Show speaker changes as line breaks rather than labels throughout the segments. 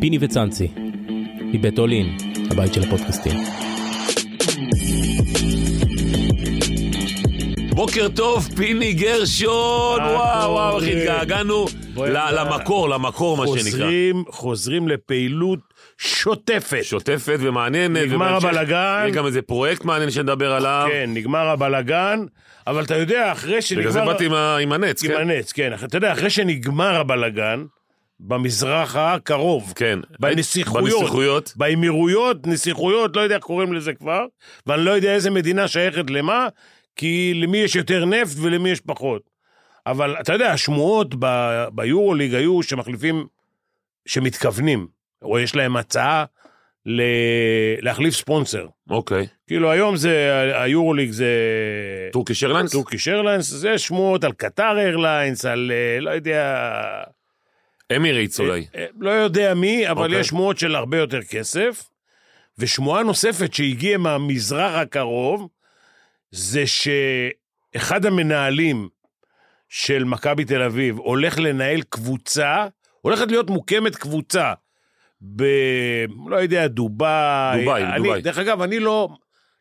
פיני וצאנצי, מבית אולין, הבית של הפודקאסטים.
בוקר טוב, פיני גרשון!
מה
וואו, וואו, איך
קורה?
התגעגענו
בואי
ל-
נדע.
למקור, למקור, מה שנקרא.
חוזרים, חוזרים לפעילות שוטפת.
שוטפת ומעניינת.
נגמר
ובהמשך
הבלגן.
יהיה גם איזה פרויקט מעניין שנדבר עליו.
כן, נגמר הבלגן, אבל אתה יודע, אחרי שנגמר...
בגלל זה באתי עם ה- עם הנץ,
עם
כן?
הנץ, כן. אתה יודע, אחרי שנגמר הבלגן, במזרח הקרוב,
כן.
בנסיכויות,
בנסיכויות.
באמירויות, נסיכויות, לא יודע איך קוראים לזה כבר, ואני לא יודע איזה מדינה שייכת למה, כי למי יש יותר נפט ולמי יש פחות. אבל אתה יודע, השמועות ב- ביורוליג היו שמחליפים, שמתכוונים, או יש להם הצעה ל... להחליף ספונסר.
אוקיי.
כאילו היום זה, ה- היורוליג זה...
טורקיש איירליינס?
טורקיש איירליינס, זה שמועות על קטר איירליינס, על אה, לא יודע...
אמירייטס אולי.
אה, אה, לא יודע מי, אבל
אוקיי.
יש שמועות של הרבה יותר כסף. ושמועה נוספת שהגיעה מהמזרח הקרוב, זה שאחד המנהלים של מכבי תל אביב הולך לנהל קבוצה, הולכת להיות מוקמת קבוצה ב... לא יודע, דובאי.
דובאי,
אני,
דובאי.
דרך אגב, אני לא,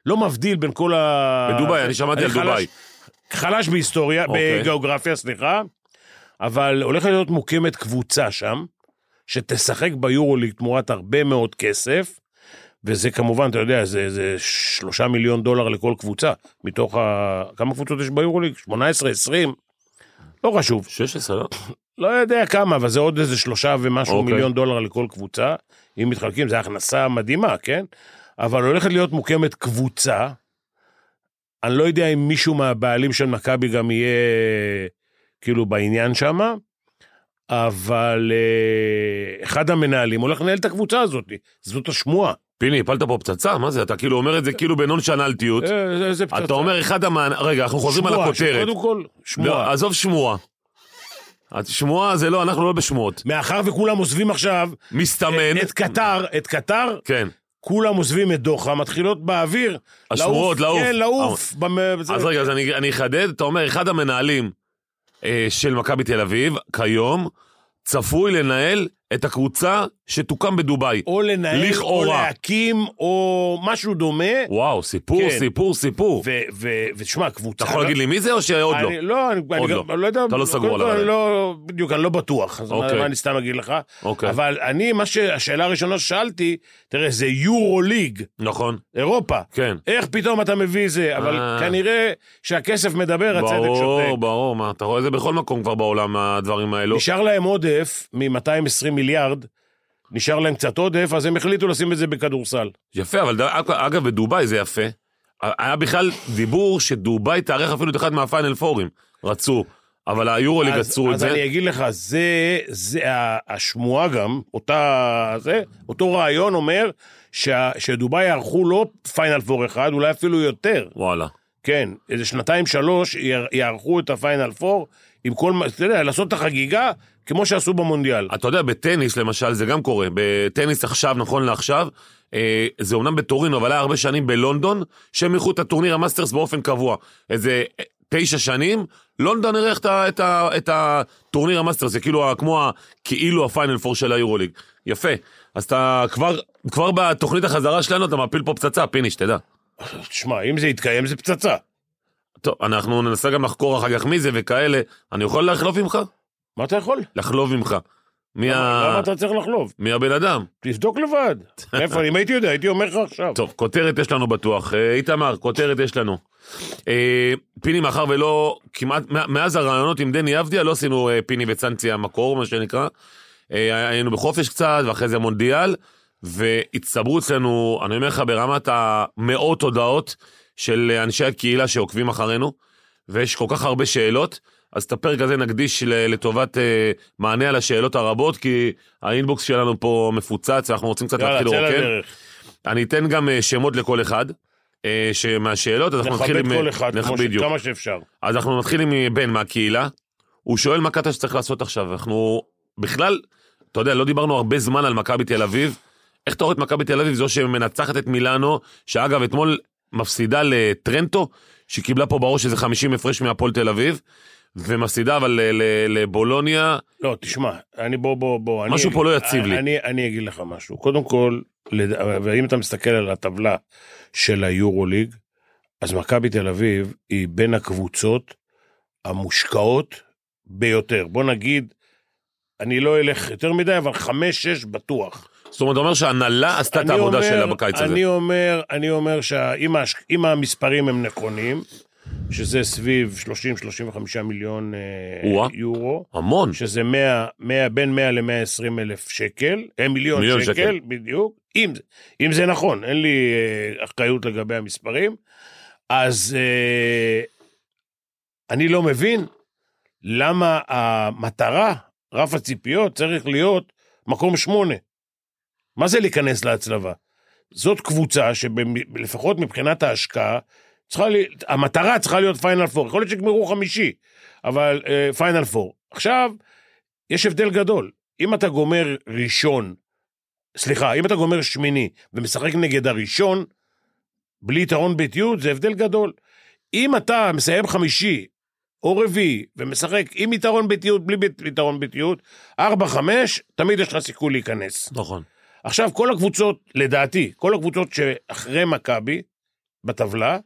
לא מבדיל בין כל ה...
בדובאי, אני שמעתי על
אה, חלש-
דובאי.
חלש בהיסטוריה,
אוקיי.
בגיאוגרפיה, סליחה, אבל הולכת להיות מוקמת קבוצה שם, שתשחק ביורוליג תמורת הרבה מאוד כסף, וזה כמובן, אתה יודע, זה, זה שלושה מיליון דולר לכל קבוצה, מתוך ה... כמה קבוצות יש ביורוליג? 18, 20? לא חשוב.
16, לא?
לא יודע כמה, אבל זה עוד איזה שלושה ומשהו
אוקיי.
אוקיי. מיליון דולר לכל קבוצה. אם מתחלקים, זו הכנסה מדהימה, כן? אבל הולכת להיות מוקמת קבוצה. אני לא יודע אם מישהו מהבעלים של מכבי גם יהיה כאילו בעניין שם, אבל אה, אחד המנהלים הולך לנהל את הקבוצה הזאת, זאת השמועה.
פיני, הפלת פה פצצה? מה זה? אתה כאילו אומר את זה כאילו בנונשנלטיות.
אה, זה- זה פצצה.
אתה אומר אחד המענ... רגע, אנחנו חוזרים על
שמועה,
הכותרת.
קודם כל,
לא,
שמועה.
עזוב שמועה. שמועה זה לא, אנחנו לא בשמועות.
מאחר וכולם עוזבים עכשיו
מסתמן.
את קטר, את קטר,
כן.
כולם עוזבים את דוחה, מתחילות באוויר.
השמורות, לעוף. אה,
כן, לעוף. במ...
אז רגע, אז אני, אני אחדד, אתה אומר, אחד המנהלים אה, של מכבי תל אביב, כיום, צפוי לנהל את הקבוצה שתוקם בדובאי.
או לנהל, או
לכאורה.
להקים, או משהו דומה.
וואו, סיפור,
כן.
סיפור, סיפור.
ו- ו- ותשמע, קבוצה...
אתה יכול להגיד לי מי זה או שעוד
אני,
לא?
לא, אני, אני
לא.
גם, לא יודע,
אתה לא סגור
קודם כל,
עליו
אני לא, בדיוק, אני לא בטוח, אז
אוקיי.
מה, מה אני סתם אגיד לך?
אוקיי.
אבל אני, מה ש... השאלה הראשונה ששאלתי, תראה, זה יורו ליג,
נכון,
אירופה.
כן.
איך פתאום אתה מביא זה?
אה.
אבל כנראה שהכסף מדבר, הצדק
ברור,
שותק.
ברור, מה, אתה רואה את זה בכל מקום כבר בעולם, הדברים האלו.
נשאר להם עודף מ-220 מיליארד, נשאר להם קצת עודף, אז הם החליטו לשים את זה בכדורסל.
יפה, אבל ד- אגב, בדובאי זה יפה. היה בכלל דיבור שדובאי תארח אפילו את אחד מהפיינל פורים. רצו, אבל היורוליג
אז,
עצרו לא את
אז
זה.
אני אגיד לך, זה, זה ה- השמועה גם, אותה, זה, אותו רעיון אומר שה, שדובאי יערכו לא פיינל פור אחד, אולי אפילו יותר,
וואלה.
כן, איזה שנתיים שלוש יער- יערכו את הפיינל פור, עם כל, מה- אתה יודע, לעשות את החגיגה כמו שעשו במונדיאל.
אתה יודע, בטניס למשל זה גם קורה. בטניס עכשיו, נכון לעכשיו, אה, זה אומנם בטורינו, אבל היה הרבה שנים בלונדון, שהם אירחו את הטורניר המאסטרס באופן קבוע. איזה אה, תשע שנים, לונדון אירח את, ה- את, ה- את הטורניר המאסטרס, זה כאילו ה- כמו ה- כאילו הפיינל פור של היורוליג. יפה. אז אתה כבר, כבר בתוכנית החזרה שלנו, אתה מפיל פה פצצה, פיני, שתדע. אה.
תשמע, אם זה יתקיים זה פצצה.
טוב, אנחנו ננסה גם לחקור אחר כך מי זה וכאלה. אני יכול לחלוב ממך?
מה אתה יכול?
לחלוב ממך. מי,
למה
ה...
אתה צריך לחלוב?
מי הבן אדם?
תבדוק לבד. איפה, אם הייתי יודע, הייתי אומר לך עכשיו.
טוב, כותרת יש לנו בטוח. אה, איתמר, כותרת יש לנו. אה, פיני, מאחר ולא, כמעט, מא- מאז הרעיונות עם דני עבדיה, לא עשינו אה, פיני וצאנצי המקור, מה שנקרא. אה, היינו בחופש קצת, ואחרי זה מונדיאל, והצטברו אצלנו, אני אומר לך, ברמת המאות הודעות של אנשי הקהילה שעוקבים אחרינו, ויש כל כך הרבה שאלות. אז את הפרק הזה נקדיש ל- לטובת אה, מענה על השאלות הרבות, כי האינבוקס שלנו פה מפוצץ, ואנחנו רוצים קצת
יאללה,
להתחיל
צא
לרוקן.
לדרך.
אני אתן גם אה, שמות לכל אחד אה, מהשאלות, אז אנחנו נתחיל
נכבד
עם...
כל אחד
נכ-
כמו ש-
בדיוק.
כמה שאפשר.
אז אנחנו נתחיל עם אה, בן מהקהילה. הוא שואל מה קטע שצריך לעשות עכשיו. אנחנו בכלל, אתה יודע, לא דיברנו הרבה זמן על מכבי תל אביב. איך אתה רואה את מכבי תל אביב זו שמנצחת את מילאנו, שאגב, אתמול מפסידה לטרנטו, שקיבלה פה בראש איזה 50 הפרש מהפועל תל אביב, ומפסידה אבל ל- ל- לבולוניה,
לא, תשמע, אני בוא, בוא, בוא. אני
משהו
אגיד-
פה לא יציב לי.
אני, אני אגיד לך משהו. קודם כל, לד... ואם אתה מסתכל על הטבלה של היורוליג, אז מכבי תל אביב היא בין הקבוצות המושקעות ביותר. בוא נגיד, אני לא אלך יותר מדי, אבל חמש-שש בטוח.
זאת אומרת, אתה אומר שההנהלה עשתה את
אני
העבודה
אומר-
שלה בקיץ הזה.
אני אומר, אני אומר שאם ההש... אם המספרים הם נכונים, שזה סביב 30-35 מיליון אה,
או-אה.
יורו,
המון.
שזה 100, 100, בין 100 ל-120 אלף שקל, אה, מיליון,
מיליון
מיליון שקל,
שקל.
שקל, בדיוק, אם, אם זה נכון, אין לי אה, אחריות לגבי המספרים, אז אה, אני לא מבין למה המטרה, רף הציפיות, צריך להיות מקום שמונה. מה זה להיכנס להצלבה? זאת קבוצה שלפחות מבחינת ההשקעה, צריכה לי, המטרה צריכה להיות פיינל פור. יכול להיות שיגמרו חמישי, אבל פיינל uh, פור. עכשיו, יש הבדל גדול. אם אתה גומר ראשון, סליחה, אם אתה גומר שמיני ומשחק נגד הראשון, בלי יתרון ביתיות, זה הבדל גדול. אם אתה מסיים חמישי או רביעי ומשחק עם יתרון ביתיות, בלי בית- יתרון ביתיות, ארבע, חמש, תמיד יש לך סיכוי להיכנס.
נכון.
עכשיו, כל הקבוצות, לדעתי, כל הקבוצות שאחרי מכבי, בטבלה,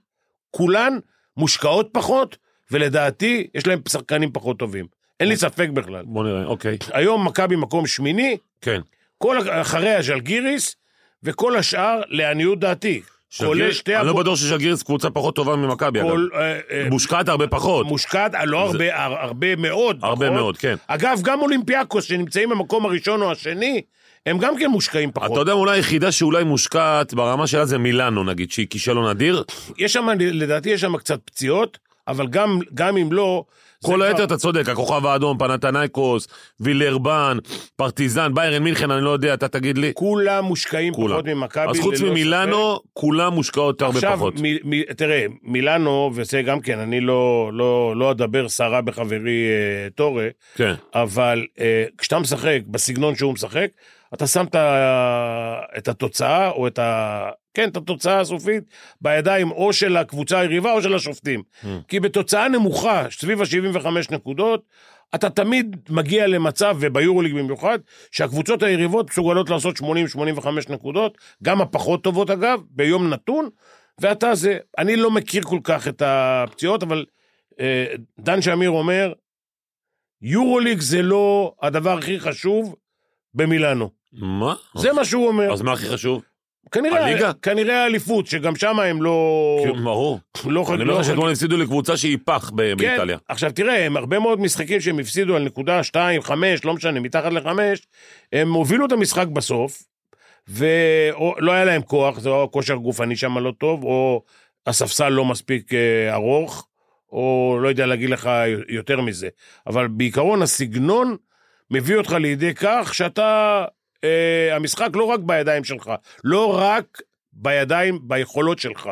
כולן מושקעות פחות, ולדעתי, יש להם שחקנים פחות טובים. אין לי ספק בכלל.
בוא נראה, אוקיי.
היום מכבי מקום שמיני,
כן.
כל ה- אחריה ז'לגיריס, וכל השאר, לעניות דעתי. כולל שתי
אני לא
הפו-
בטוח ששגיריס קבוצה פחות טובה ממכבי, אגב.
כל, אה, אה,
מושקעת הרבה פחות.
מושקעת, אה, לא הרבה, הר- הרבה מאוד.
הרבה
נכון?
מאוד, כן.
אגב, גם אולימפיאקוס, שנמצאים במקום הראשון או השני, הם גם כן מושקעים פחות.
אתה יודע, אולי היחידה שאולי מושקעת ברמה שלה זה מילאנו, נגיד, שהיא כישלון אדיר.
יש שם, לדעתי יש שם קצת פציעות, אבל גם, גם אם לא... זה
כל
כבר-
היתר, אתה צודק, הכוכב האדום, פנתנייקוס, וילרבן, פרטיזן, ביירן מינכן, אני לא יודע, אתה תגיד לי.
כולם מושקעים
כולם.
פחות ממכבי.
אז חוץ
ללא ספק.
ממילאנו, כולם מושקעות הרבה
עכשיו,
פחות.
מ, מ, תראה, מילאנו, וזה גם כן, אני לא, לא, לא אדבר סרה בחברי אה, טורה,
כן.
אבל אה, כשאתה משחק בסגנון שהוא משחק, אתה שם את ה- את התוצאה, או את ה... כן, את התוצאה הסופית, בידיים או של הקבוצה היריבה או של השופטים. Mm. כי בתוצאה נמוכה, סביב ה-75 נקודות, אתה תמיד מגיע למצב, וביורוליג במיוחד, שהקבוצות היריבות מסוגלות לעשות 80-85 נקודות, גם הפחות טובות אגב, ביום נתון, ואתה זה, אני לא מכיר כל כך את הפציעות, אבל אה, דן שמיר אומר, יורוליג זה לא הדבר הכי חשוב במילאנו.
מה?
זה מה שהוא אומר.
אוקיי. אז מה הכי חשוב? הליגה?
כנראה, כנראה האליפות, שגם שם הם לא...
כן, ברור.
לא
אני אומר לך שאתמול הפסידו לקבוצה שהיא פח ב-
כן,
באיטליה.
עכשיו תראה, הם הרבה מאוד משחקים שהם הפסידו על נקודה 2, 5, לא משנה, מתחת לחמש, הם הובילו את המשחק בסוף, ולא לא היה להם כוח, זה או כושר גופני שם לא טוב, או הספסל לא מספיק אה, ארוך, או לא יודע להגיד לך יותר מזה. אבל בעיקרון הסגנון מביא אותך לידי כך שאתה, אה, המשחק לא רק בידיים שלך, לא רק בידיים, ביכולות שלך.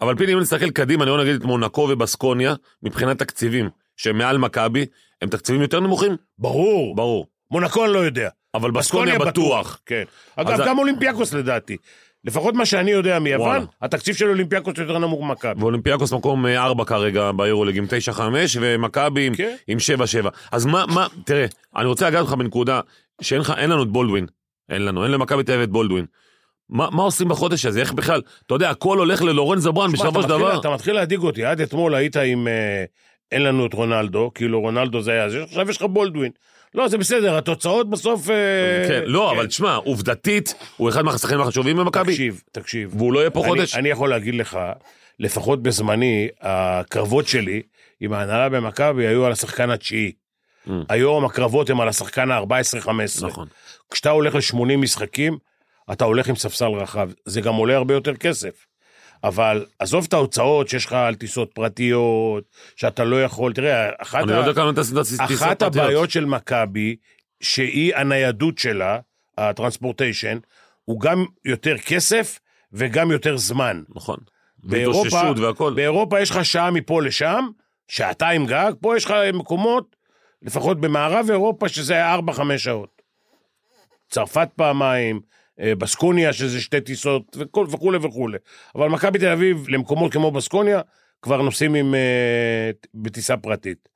אבל פיני, אם נסתכל קדימה, אני רואה נגיד את מונקו ובסקוניה, מבחינת תקציבים, שהם מעל מכבי, הם תקציבים יותר נמוכים?
ברור,
ברור.
מונקו אני לא יודע.
אבל בסקוניה בטוח.
כן.
אז
אגב,
ה-
גם אולימפיאקוס לדעתי. לפחות מה שאני יודע
וואלה.
מיוון, התקציב של אולימפיאקוס יותר נמוך ממכבי.
ואולימפיאקוס מקום 4 כרגע ביורוליג עם 9-5, ומכבי עם-
כן.
עם 7-7. אז מה, מה, תראה, אני רוצה לגעת לך בנקודה, שאין לך- אין לנו את בולדווין. אין לנו, אין למכבי תל אביב את בולדווין. מה מה עושים בחודש הזה? איך בכלל, אתה יודע, הכל הולך ללורנזו בראון
תשמע,
בסופו
אתה
של
מתחיל-
דבר.
אתה מתחיל להדאיג אותי, עד אתמול היית עם אה, אין לנו את רונלדו, כאילו רונלדו זה היה, אז עכשיו יש לך בולדווין. לא, זה בסדר, התוצאות בסוף... אה,
כן, לא, אבל תשמע, עובדתית, הוא אחד מהשחקנים החשובים במכבי,
תקשיב, תקשיב.
והוא לא יהיה פה
אני-
חודש.
אני יכול להגיד לך, לפחות בזמני, הקרבות שלי עם ההנהלה במכבי היו על השחקן התשיעי.
Mm.
היום הקרבות הם על השחקן ה-14-15.
נכון.
כשאתה הולך ל-80 משחקים, אתה הולך עם ספסל רחב. זה גם עולה הרבה יותר כסף. אבל עזוב את ההוצאות שיש לך על טיסות פרטיות, שאתה לא יכול, תראה, אחת,
אני לא יודע כמה אתה עשית טיסות
אחת
פרטיות.
הבעיות של מכבי, שהיא הניידות שלה, הטרנספורטיישן, הוא גם יותר כסף וגם יותר זמן.
נכון.
באירופה-
והתאוששות והכל.
באירופה יש לך שעה מפה לשם, שעתיים גג, פה יש לך מקומות, לפחות במערב אירופה, שזה היה 4-5 שעות. צרפת פעמיים, אה, בסקוניה, שזה שתי טיסות, וכל- וכולי וכולי. אבל מכבי תל אביב, למקומות כמו בסקוניה, כבר נוסעים עם, אה, בטיסה פרטית.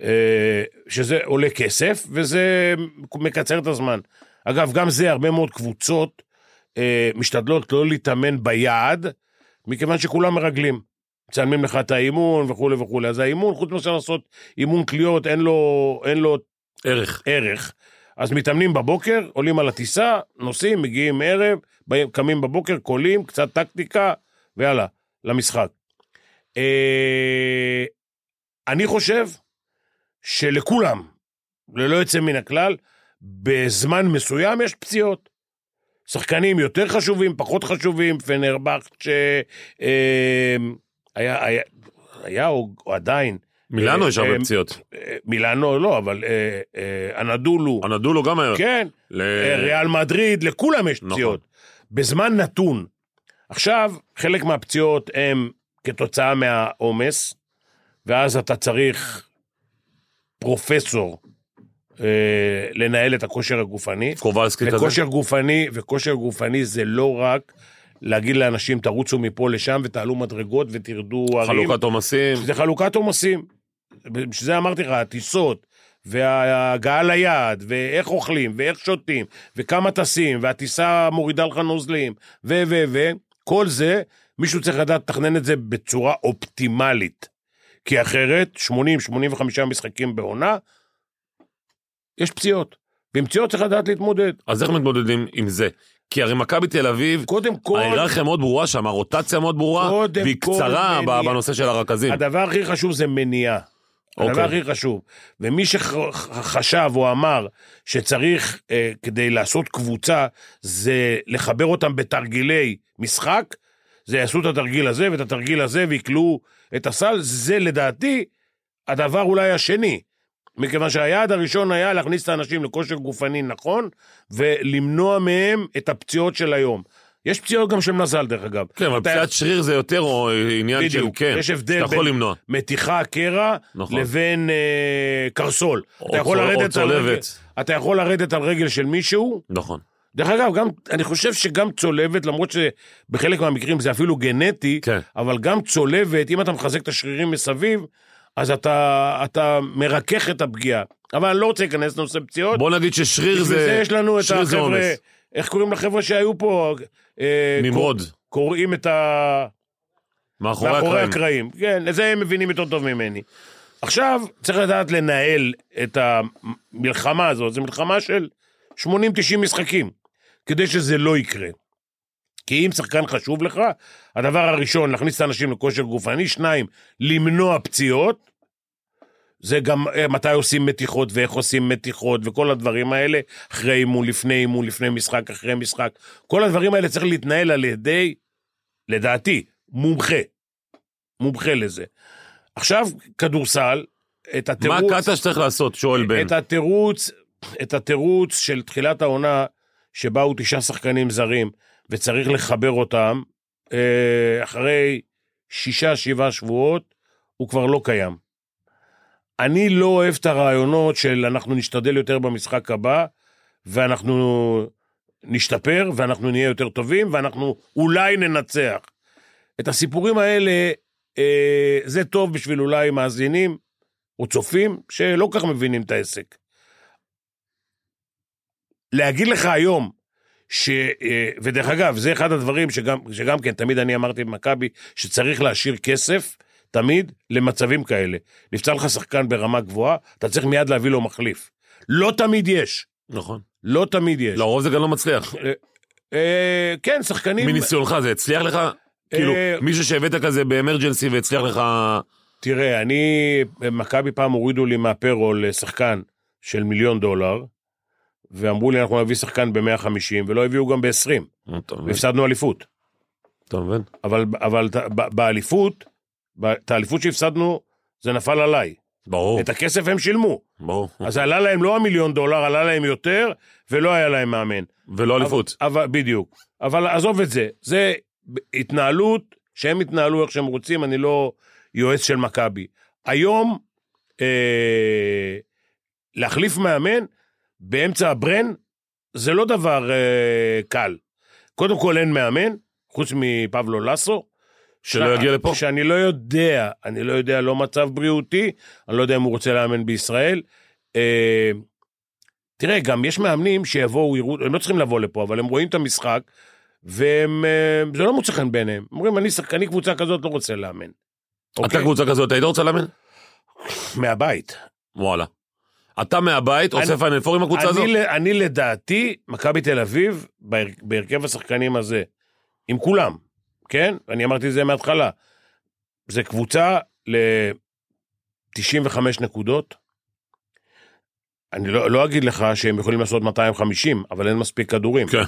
אה, שזה עולה כסף, וזה מקצר את הזמן. אגב, גם זה, הרבה מאוד קבוצות אה, משתדלות לא להתאמן ביעד, מכיוון שכולם מרגלים. מצלמים לך את האימון וכולי וכולי. אז האימון, חוץ מאשר לעשות אימון קליעות, אין לו, אין לו
ערך.
ערך. אז מתאמנים בבוקר, עולים על הטיסה, נוסעים, מגיעים ערב, באים, קמים בבוקר, קולים, קצת טקטיקה, ויאללה, למשחק. אה, אני חושב שלכולם, ללא יוצא מן הכלל, בזמן מסוים יש פציעות. שחקנים יותר חשובים, פחות חשובים, פנרבכט, אה, היה, היה, היה או, או עדיין,
מילאנו
אה,
יש הרבה
אה,
פציעות.
אה, מילאנו לא, אבל אה, אה, אנדולו,
הנדולו גם היה.
כן,
ל-
אה, ריאל מדריד, לכולם יש
נכון.
פציעות. בזמן נתון. עכשיו, חלק מהפציעות הם כתוצאה מהעומס, ואז אתה צריך פרופסור אה, לנהל את הכושר הגופני.
קובלסקי כזה.
וכושר גופני, וכושר גופני זה לא רק להגיד לאנשים, תרוצו מפה לשם ותעלו מדרגות ותרדו הרים.
חלוקת עומסים.
זה חלוקת עומסים. בשביל זה אמרתי לך, הטיסות, וההגעה ליעד, ואיך אוכלים, ואיך שותים, וכמה טסים, והטיסה מורידה לך נוזלים, ו, ו, ו, כל זה, מישהו צריך לדעת לתכנן את זה בצורה אופטימלית. כי אחרת, 80-85 משחקים בעונה, יש פציעות. ועם פציעות צריך לדעת להתמודד.
אז איך מתמודדים עם זה? כי הרי מכבי תל אביב,
קודם כל,
ההיררכיה מאוד ברורה שם, הרוטציה מאוד ברורה,
קודם
והיא
כל
קצרה ב-
מניעה.
בנושא של הרכזים.
הדבר הכי חשוב זה מניעה. הדבר
אוקיי.
הכי חשוב. ומי שחשב או אמר שצריך, אה, כדי לעשות קבוצה, זה לחבר אותם בתרגילי משחק, זה יעשו את התרגיל הזה ואת התרגיל הזה ויקלעו את הסל, זה לדעתי הדבר אולי השני. מכיוון שהיעד הראשון היה להכניס את האנשים לכושר גופני נכון, ולמנוע מהם את הפציעות של היום. יש פציעות גם של מזל, דרך אגב.
כן, אבל
אתה-
פציעת שריר זה יותר או עניין של,
בדיוק,
כן,
יש הבדל
שאתה יכול
בין-
למנוע.
מתיחה קרע
נכון.
נכון. לבין אה, קרסול.
או
אתה יכול,
צול- או
לרדת על רגל,
צולבת.
אתה יכול לרדת על רגל של מישהו.
נכון.
דרך אגב, גם, אני חושב שגם צולבת, למרות שבחלק מהמקרים זה אפילו גנטי,
כן.
אבל גם צולבת, אם אתה מחזק את השרירים מסביב, אז אתה, אתה מרכך את הפגיעה. אבל אני לא רוצה להיכנס לנושא פציעות.
בוא נגיד ששריר
בשביל זה
זה...
יש לנו את
שריר זה
החבר'ה,
עומס.
איך קוראים לחבר'ה שהיו פה? אה,
נמרוד,
קור- קוראים את ה...
מאחורי
מאחורי
הקרעים.
הקרעים. כן, לזה הם מבינים יותר טוב ממני. עכשיו, צריך לדעת לנהל את המלחמה הזאת, זו מלחמה של 80-90 משחקים, כדי שזה לא יקרה. כי אם שחקן חשוב לך, הדבר הראשון, להכניס את האנשים לכושר גופני, שניים, למנוע פציעות, זה גם אה, מתי עושים מתיחות ואיך עושים מתיחות וכל הדברים האלה, אחרי אימון, לפני אימון, לפני משחק, אחרי משחק. כל הדברים האלה צריך להתנהל על ידי, לדעתי, מומחה. מומחה לזה. עכשיו, כדורסל, את
מה
התירוץ...
הקטע שצריך לעשות? שואל בן.
את התירוץ, את התירוץ של תחילת העונה, שבאו תשעה שחקנים זרים, וצריך לחבר אותם, אה, אחרי שישה, שבעה שבועות, הוא כבר לא קיים. אני לא אוהב את הרעיונות של אנחנו נשתדל יותר במשחק הבא, ואנחנו נשתפר, ואנחנו נהיה יותר טובים, ואנחנו אולי ננצח. את הסיפורים האלה, אה, זה טוב בשביל אולי מאזינים או צופים שלא כל כך מבינים את העסק. להגיד לך היום, ש... אה, ודרך אגב, זה אחד הדברים שגם, שגם כן, תמיד אני אמרתי במכבי, שצריך להשאיר כסף, תמיד, למצבים כאלה. נפצע לך שחקן ברמה גבוהה, אתה צריך מיד להביא לו מחליף. לא תמיד יש,
נכון.
לא תמיד יש.
לרוב זה גם לא מצליח.
אה, כן, שחקנים...
מניסיונך זה הצליח לך? כאילו,
אה,
מישהו שהבאת כזה באמרג'נסי והצליח לך... אה,
תראה, אני, מכבי פעם הורידו לי מהפרול אה, שחקן של מיליון דולר, ואמרו לי אנחנו נביא שחקן ב-150, ולא הביאו גם ב-20,
אתה מבין?
והפסדנו אליפות.
אתה מבין?
אבל, אבל ת- ב- באליפות, ב- את האליפות שהפסדנו, זה נפל עליי.
ברור,
את הכסף הם שילמו.
ברור.
אז עלה להם לא המיליון דולר, עלה להם יותר, ולא היה להם מאמן.
ולא אליפות.
אבל, אבל, בדיוק. אבל עזוב את זה. זה התנהלות, שהם יתנהלו איך שהם רוצים, אני לא יועץ של מכבי. היום, אה, להחליף מאמן באמצע הברן, זה לא דבר אה, קל. קודם כל אין מאמן, חוץ מפבלו לסו,
שלא יגיע לפה.
שאני לא יודע, אני לא יודע לא מצב בריאותי, אני לא יודע אם הוא רוצה לאמן בישראל. אה, תראה, גם יש מאמנים שיבואו, יראו, הם לא צריכים לבוא לפה, אבל הם רואים את המשחק, והם, אה, זה לא מוצא חן בעיניהם. אומרים, אני שחקני קבוצה כזאת לא רוצה לאמן. אוקיי.
אתה קבוצה כזאת, היית רוצה לאמן?
מהבית.
וואלה. אתה מהבית, עושה
אני-
פיינל פור עם הקבוצה הזאת?
אני, ל- אני לדעתי, מכבי תל אביב, בהר, בהרכב השחקנים הזה, עם כולם, כן? אני אמרתי את זה מההתחלה. זה קבוצה ל-95 נקודות. אני לא, לא אגיד לך שהם יכולים לעשות 250, אבל אין מספיק כדורים.
כן.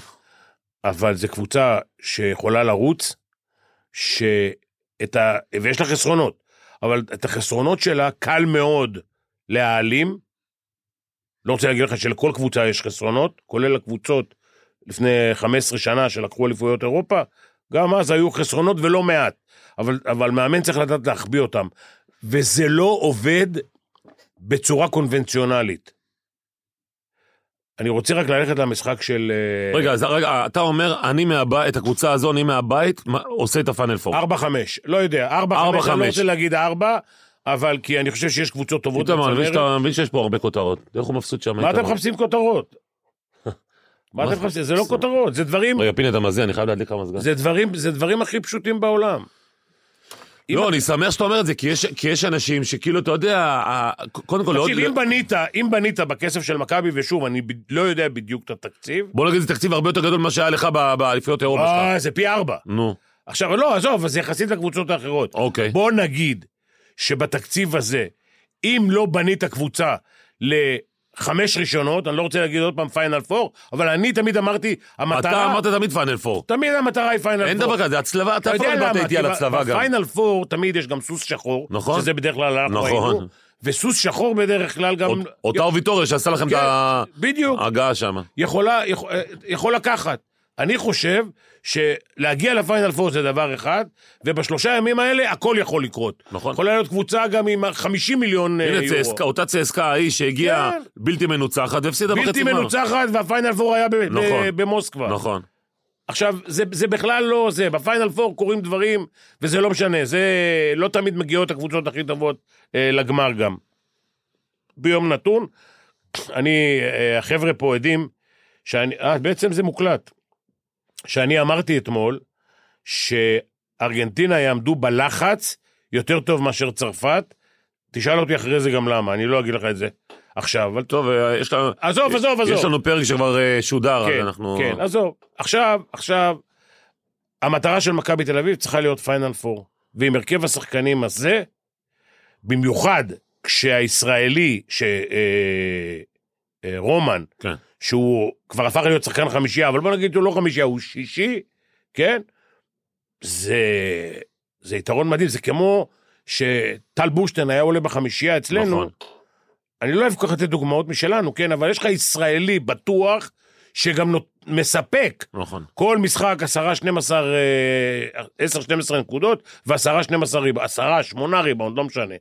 אבל זו קבוצה שיכולה לרוץ, שאת ה... ויש לה חסרונות, אבל את החסרונות שלה קל מאוד להעלים. לא רוצה להגיד לך שלכל קבוצה יש חסרונות, כולל הקבוצות לפני 15 שנה שלקחו אליפויות אירופה, גם אז היו חסרונות ולא מעט, אבל, אבל מאמן צריך לדעת להחביא אותם. וזה לא עובד בצורה קונבנציונלית. אני רוצה רק ללכת למשחק של... אה,
רגע, אז רגע, אתה אומר, אני מהבית, את הקבוצה הזו, אני מהבית, מה- עושה את הפיינל פור.
ארבע חמש, לא יודע,
ארבע,
ארבע חמש, אני לא
חמש.
רוצה להגיד ארבע, אבל כי אני חושב שיש קבוצות טובות
איתמר, אני מבין
בצמרת.
שאתה מבין שיש פה הרבה כותרות. איך הוא מבסוט שם?
מה אתם
איתמר?
מחפשים כותרות? מה
מה
אתם
זה?
מחפשים? זה לא
זה-
כותרות, זה דברים,
רגע, פיני, אתה מזיע, אני חייב להדליק לך מזגן.
זה דברים, זה דברים הכי פשוטים בעולם. אם-
לא, אני שמח שאתה אומר את זה, כי יש- כי יש אנשים שכאילו, אתה יודע, ה- קודם כל,
תקשיב,
לא-
אם בנית, אם בנית בכסף של מכבי, ושוב, אני ב- לא יודע בדיוק את התקציב,
בוא נגיד, זה תקציב הרבה יותר גדול ממה שהיה לך ב- באליפויות אירופה שלך.
אה, זה פי ארבע.
נו,
עכשיו, לא, עזוב, אז זה יחסית לקבוצות האחרות.
אוקיי.
בוא נגיד שבתקציב הזה, אם לא בנית קבוצה לחמש ראשונות, אני לא רוצה להגיד עוד פעם פיינל פור, אבל אני תמיד אמרתי,
אתה
המטרה,
אמרת תמיד פיינל פור.
תמיד המטרה היא פיינל פור.
אין דבר כזה, זה הצלבה, אתה אף פעם לא באת איתי על הצלבה גם.
בפיינל פור תמיד יש גם סוס שחור,
נכון.
שזה בדרך כלל אנחנו
נכון.
היינו, וסוס שחור בדרך כלל גם... כן,
אות- אותה וויטוריה שעשה לכם את ה-
אמ- בדיוק. אה,
ההגעה שם.
יכולה, יכול, יכול לקחת. אני חושב שלהגיע לפיינל פור זה דבר אחד, ובשלושה ימים האלה הכל יכול לקרות.
נכון.
יכולה להיות קבוצה גם עם 50 מיליון אה,
הנה,
יורו.
צסקה, אותה צסקה ההיא שהגיעה
כן.
בלתי מנוצחת והפסידה בחצי גמר.
בלתי מנוצחת, והפיינל פור היה ב- ב-
נכון.
במוסקבה.
נכון.
עכשיו, זה, זה בכלל לא זה, בפיינל פור קורים דברים, וזה לא משנה, זה לא תמיד מגיעות הקבוצות הכי טובות אה, לגמר גם. ביום נתון, אני, אה, החבר'ה פה עדים, שאני, אה, בעצם זה מוקלט, שאני אמרתי אתמול, שארגנטינה יעמדו בלחץ יותר טוב מאשר צרפת, תשאל אותי אחרי זה גם למה, אני לא אגיד לך את זה עכשיו, אבל...
טוב, אה, יש לנו...
עזוב, עזוב, עזוב.
יש לנו פרק שכבר אה, שודר, אז
כן,
אנחנו...
כן, עזוב. עכשיו, עכשיו, המטרה של מכבי תל אביב צריכה להיות פיינל פור. ועם הרכב השחקנים הזה, במיוחד כשהישראלי, ש... אה, אה, רומן,
כן.
שהוא כבר הפך להיות שחקן חמישייה, אבל בוא נגיד שהוא לא חמישייה, הוא שישי, כן? זה, זה יתרון מדהים, זה כמו שטל בושטיין היה עולה בחמישייה אצלנו,
נכון.
אני לא אוהב כל כך לתת דוגמאות משלנו, כן? אבל יש לך ישראלי בטוח, שגם נות... מספק
נכון.
כל משחק 10, 12, אה, 10, 12 נקודות, ו-10, 12 ריבאונד, 10, 8 ריבאונד, לא משנה.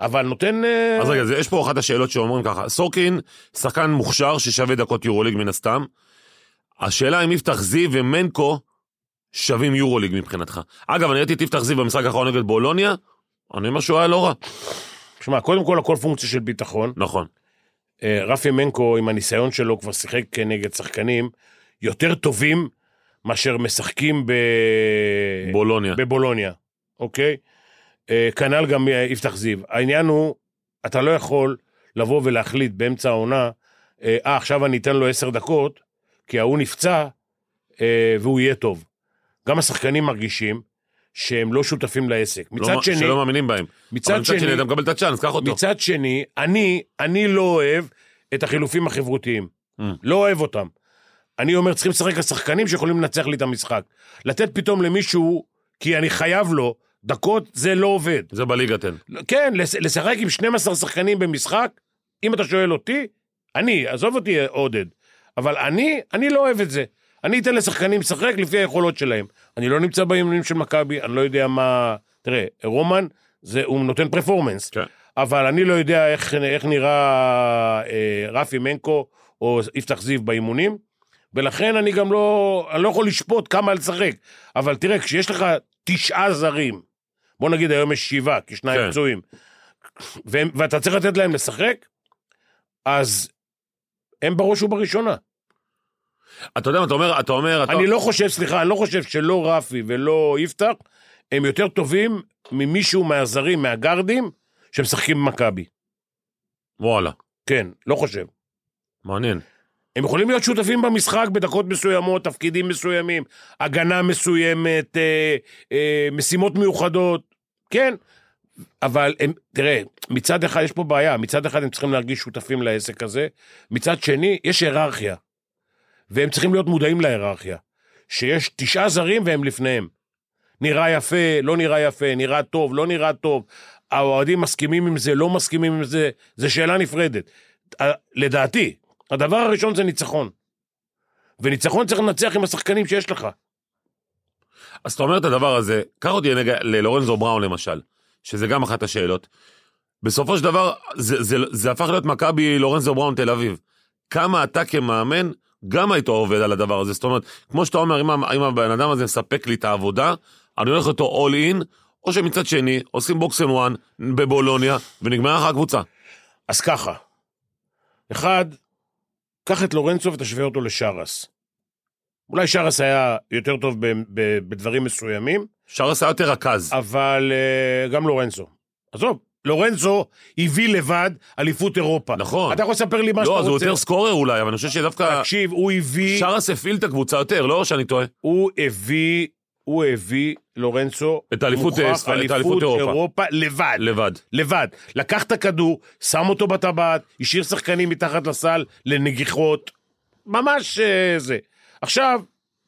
אבל נותן... אה,
אז רגע, זה- יש פה אחת השאלות שאומרים ככה, סורקין, שחקן מוכשר ששווה דקות יורוליג מן הסתם. השאלה אם יפתח זיו ומנקו שווים יורוליג מבחינתך. אגב, אני ראיתי את יפתח זיו במשחק האחרון נגד בולוניה, אני אומר שהוא היה לא רע.
שמע, קודם כל הכל פונקציה של ביטחון.
נכון.
אה, רפי מנקו, עם הניסיון שלו, כבר שיחק נגד שחקנים יותר טובים מאשר משחקים ב... אה,
בולוניה.
בבולוניה, אוקיי? אה, כנ"ל גם אה, יפתח זיו. העניין הוא, אתה לא יכול לבוא ולהחליט באמצע העונה, אה, "אה, עכשיו אני אתן לו עשר דקות, כי ההוא נפצע, אה, והוא יהיה טוב. גם השחקנים מרגישים שהם לא שותפים לעסק. מצד
לא-
שני,
שלא מאמינים בהם. אבל
מצד
מצד שני,
שני,
אתה מקבל את הצ'אנס, קח אותו.
מצד שני, אני, אני לא אוהב את החילופים החברותיים.
Mm.
לא אוהב אותם. אני אומר, צריכים לשחק השחקנים שיכולים לנצח לי את המשחק. לתת פתאום למישהו, כי אני חייב לו, דקות, זה לא עובד.
זה בליגה תן.
לא, כן, לש- לשחק עם 12 שחקנים במשחק, אם אתה שואל אותי, אני, עזוב אותי עודד, אבל אני, אני לא אוהב את זה. אני אתן לשחקנים לשחק לפי היכולות שלהם. אני לא נמצא באימונים של מכבי, אני לא יודע מה... תראה, רומן, זה, הוא נותן פרפורמנס.
כן.
אבל אני לא יודע איך, איך נראה אה, רפי מנקו או יפתח זיו באימונים, ולכן אני גם לא, אני לא יכול לשפוט כמה לשחק. אבל תראה, כשיש לך תשעה זרים. בוא נגיד היום יש שבעה, כי שניים
כן.
פצועים. והם, ואתה צריך לתת להם לשחק, אז הם בראש ובראשונה.
אתה יודע מה אתה אומר, אתה אומר, אתה...
אני לא חושב, סליחה, אני לא חושב שלא רפי ולא יפתח, הם יותר טובים ממישהו מהזרים, מהגרדים, שמשחקים במכבי.
וואלה,
כן, לא חושב.
מעניין.
הם יכולים להיות שותפים במשחק בדקות מסוימות, תפקידים מסוימים, הגנה מסוימת, אה, אה, משימות מיוחדות, כן. אבל הם, תראה, מצד אחד יש פה בעיה, מצד אחד הם צריכים להרגיש שותפים לעסק הזה, מצד שני יש היררכיה, והם צריכים להיות מודעים להיררכיה, שיש תשעה זרים והם לפניהם. נראה יפה, לא נראה יפה, נראה טוב, לא נראה טוב, האוהדים מסכימים עם זה, לא מסכימים עם זה, זו שאלה נפרדת. ה- לדעתי, הדבר הראשון זה ניצחון. וניצחון צריך לנצח עם השחקנים שיש לך.
אז אתה אומר את הדבר הזה, קח אותי לנגע, ללורנזו בראון למשל, שזה גם אחת השאלות. בסופו של דבר, זה, זה, זה הפך להיות מכבי לורנזו בראון תל אביב. כמה אתה כמאמן, גם היית עובד על הדבר הזה. זאת אומרת, כמו שאתה אומר, אם, ה- אם הבן אדם הזה מספק לי את העבודה, אני הולך איתו אול אין, או שמצד שני, עושים בוקס אנד וואן בבולוניה, ונגמר לך הקבוצה.
אז ככה, אחד, קח את לורנצו ותשווה אותו לשרס. אולי שרס היה יותר טוב ב- ב- בדברים מסוימים,
שרס היה יותר רכז.
אבל אה, גם לורנצו. עזוב, לורנצו הביא לבד אליפות אירופה.
נכון.
אתה יכול לספר לי מה שאתה
לא,
רוצה.
אז הוא יותר סקורר אולי, אבל אני חושב שדווקא
תקשיב, הוא הביא...
שרס הפעיל את הקבוצה יותר, לא שאני טועה.
הוא הביא, הוא הביא, לורנצו,
את האליפות, אה,
מוכח
ספרד- את האליפות אירופה.
אירופה לבד,
לבד.
לבד. לקח את הכדור, שם אותו בטבעת, השאיר שחקנים מתחת לסל לנגיחות, ממש אה, זה. עכשיו,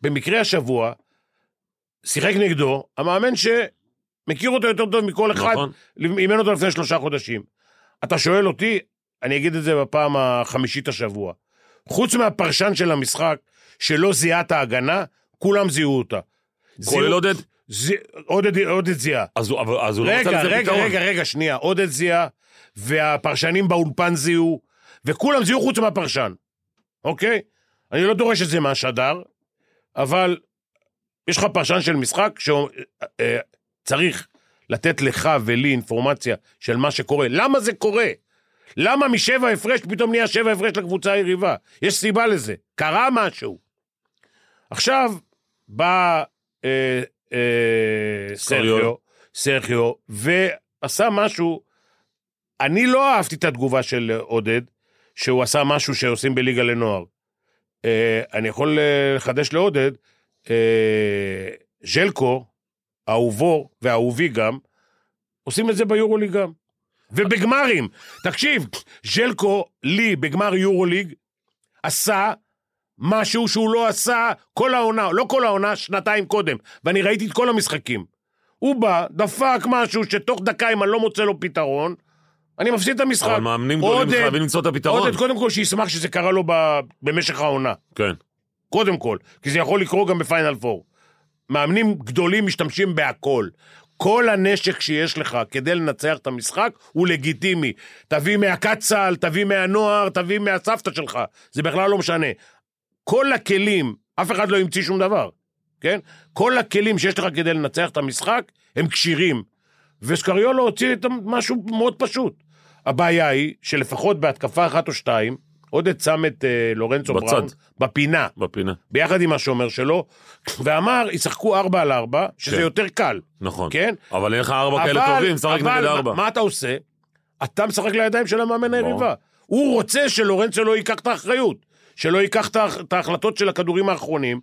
במקרה השבוע, שיחק נגדו המאמן שמכיר אותו יותר טוב מכל אחד,
נכון.
אימן אותו לפני שלושה חודשים. אתה שואל אותי, אני אגיד את זה בפעם החמישית השבוע. חוץ מהפרשן של המשחק, שלא זיהה את ההגנה, כולם זיהו אותה.
כולל
זיהו-
עודד.
ז... עודד, עודד זיהה.
אז הוא, אבל- אז הוא לא מצא
רגע,
לזה
רגע,
פתרון.
רגע, רגע, שנייה. עודד זיהה, והפרשנים באולפן זיהו, וכולם זיהו חוץ מהפרשן, אוקיי? אני לא דורש את זה מהשדר, אבל יש לך פרשן של משחק אה, שצריך לתת לך ולי אינפורמציה של מה שקורה. למה זה קורה? למה משבע הפרש פתאום נהיה שבע הפרש לקבוצה היריבה? יש סיבה לזה. קרה משהו. עכשיו בא אה, אה, סרחיו,
קוריול.
סרחיו, ועשה משהו, אני לא אהבתי את התגובה של עודד, שהוא עשה משהו שעושים בליגה לנוער. אה, אני יכול אה, לחדש לעודד, אה, ז'לקו, אהובו ואהובי גם, עושים את זה ביורוליג גם. ובגמרים, תקשיב, ז'לקו, לי, בגמר יורוליג, עשה משהו שהוא לא עשה כל העונה, לא כל העונה, שנתיים קודם, ואני ראיתי את כל המשחקים. הוא בא, דפק משהו שתוך דקה, אם אני לא מוצא לו פתרון, אני מפסיד את המשחק.
אבל מאמנים גדולים
עודד,
חייבים למצוא את הפתרון.
עודד, קודם כל שישמח שזה קרה לו ב- במשך העונה.
כן.
קודם כל, כי זה יכול לקרות גם בפיינל פור. מאמנים גדולים משתמשים בהכל. כל הנשק שיש לך כדי לנצח את המשחק הוא לגיטימי. תביא מהקצ"ל, תביא מהנוער, תביא מהסבתא שלך, זה בכלל לא משנה. כל הכלים, אף אחד לא המציא שום דבר, כן? כל הכלים שיש לך כדי לנצח את המשחק הם כשירים. וסקריולו הוציא את משהו מאוד פשוט. הבעיה היא שלפחות בהתקפה אחת או שתיים, עודד שם את אה, לורנצו
בצד.
בראון בפינה.
בפינה.
ביחד עם השומר שלו, ואמר, ישחקו ארבע על ארבע, שזה
כן.
יותר קל.
נכון.
כן?
אבל אין לך ארבע כאלה
אבל-
טובים, שחק
אבל
נגד
מה-
ארבע.
מה אתה עושה? אתה משחק לידיים של המאמן
ברור.
היריבה. הוא רוצה שלורנצו לא ייקח את האחריות, שלא ייקח את ההח- את ההחלטות של הכדורים האחרונים,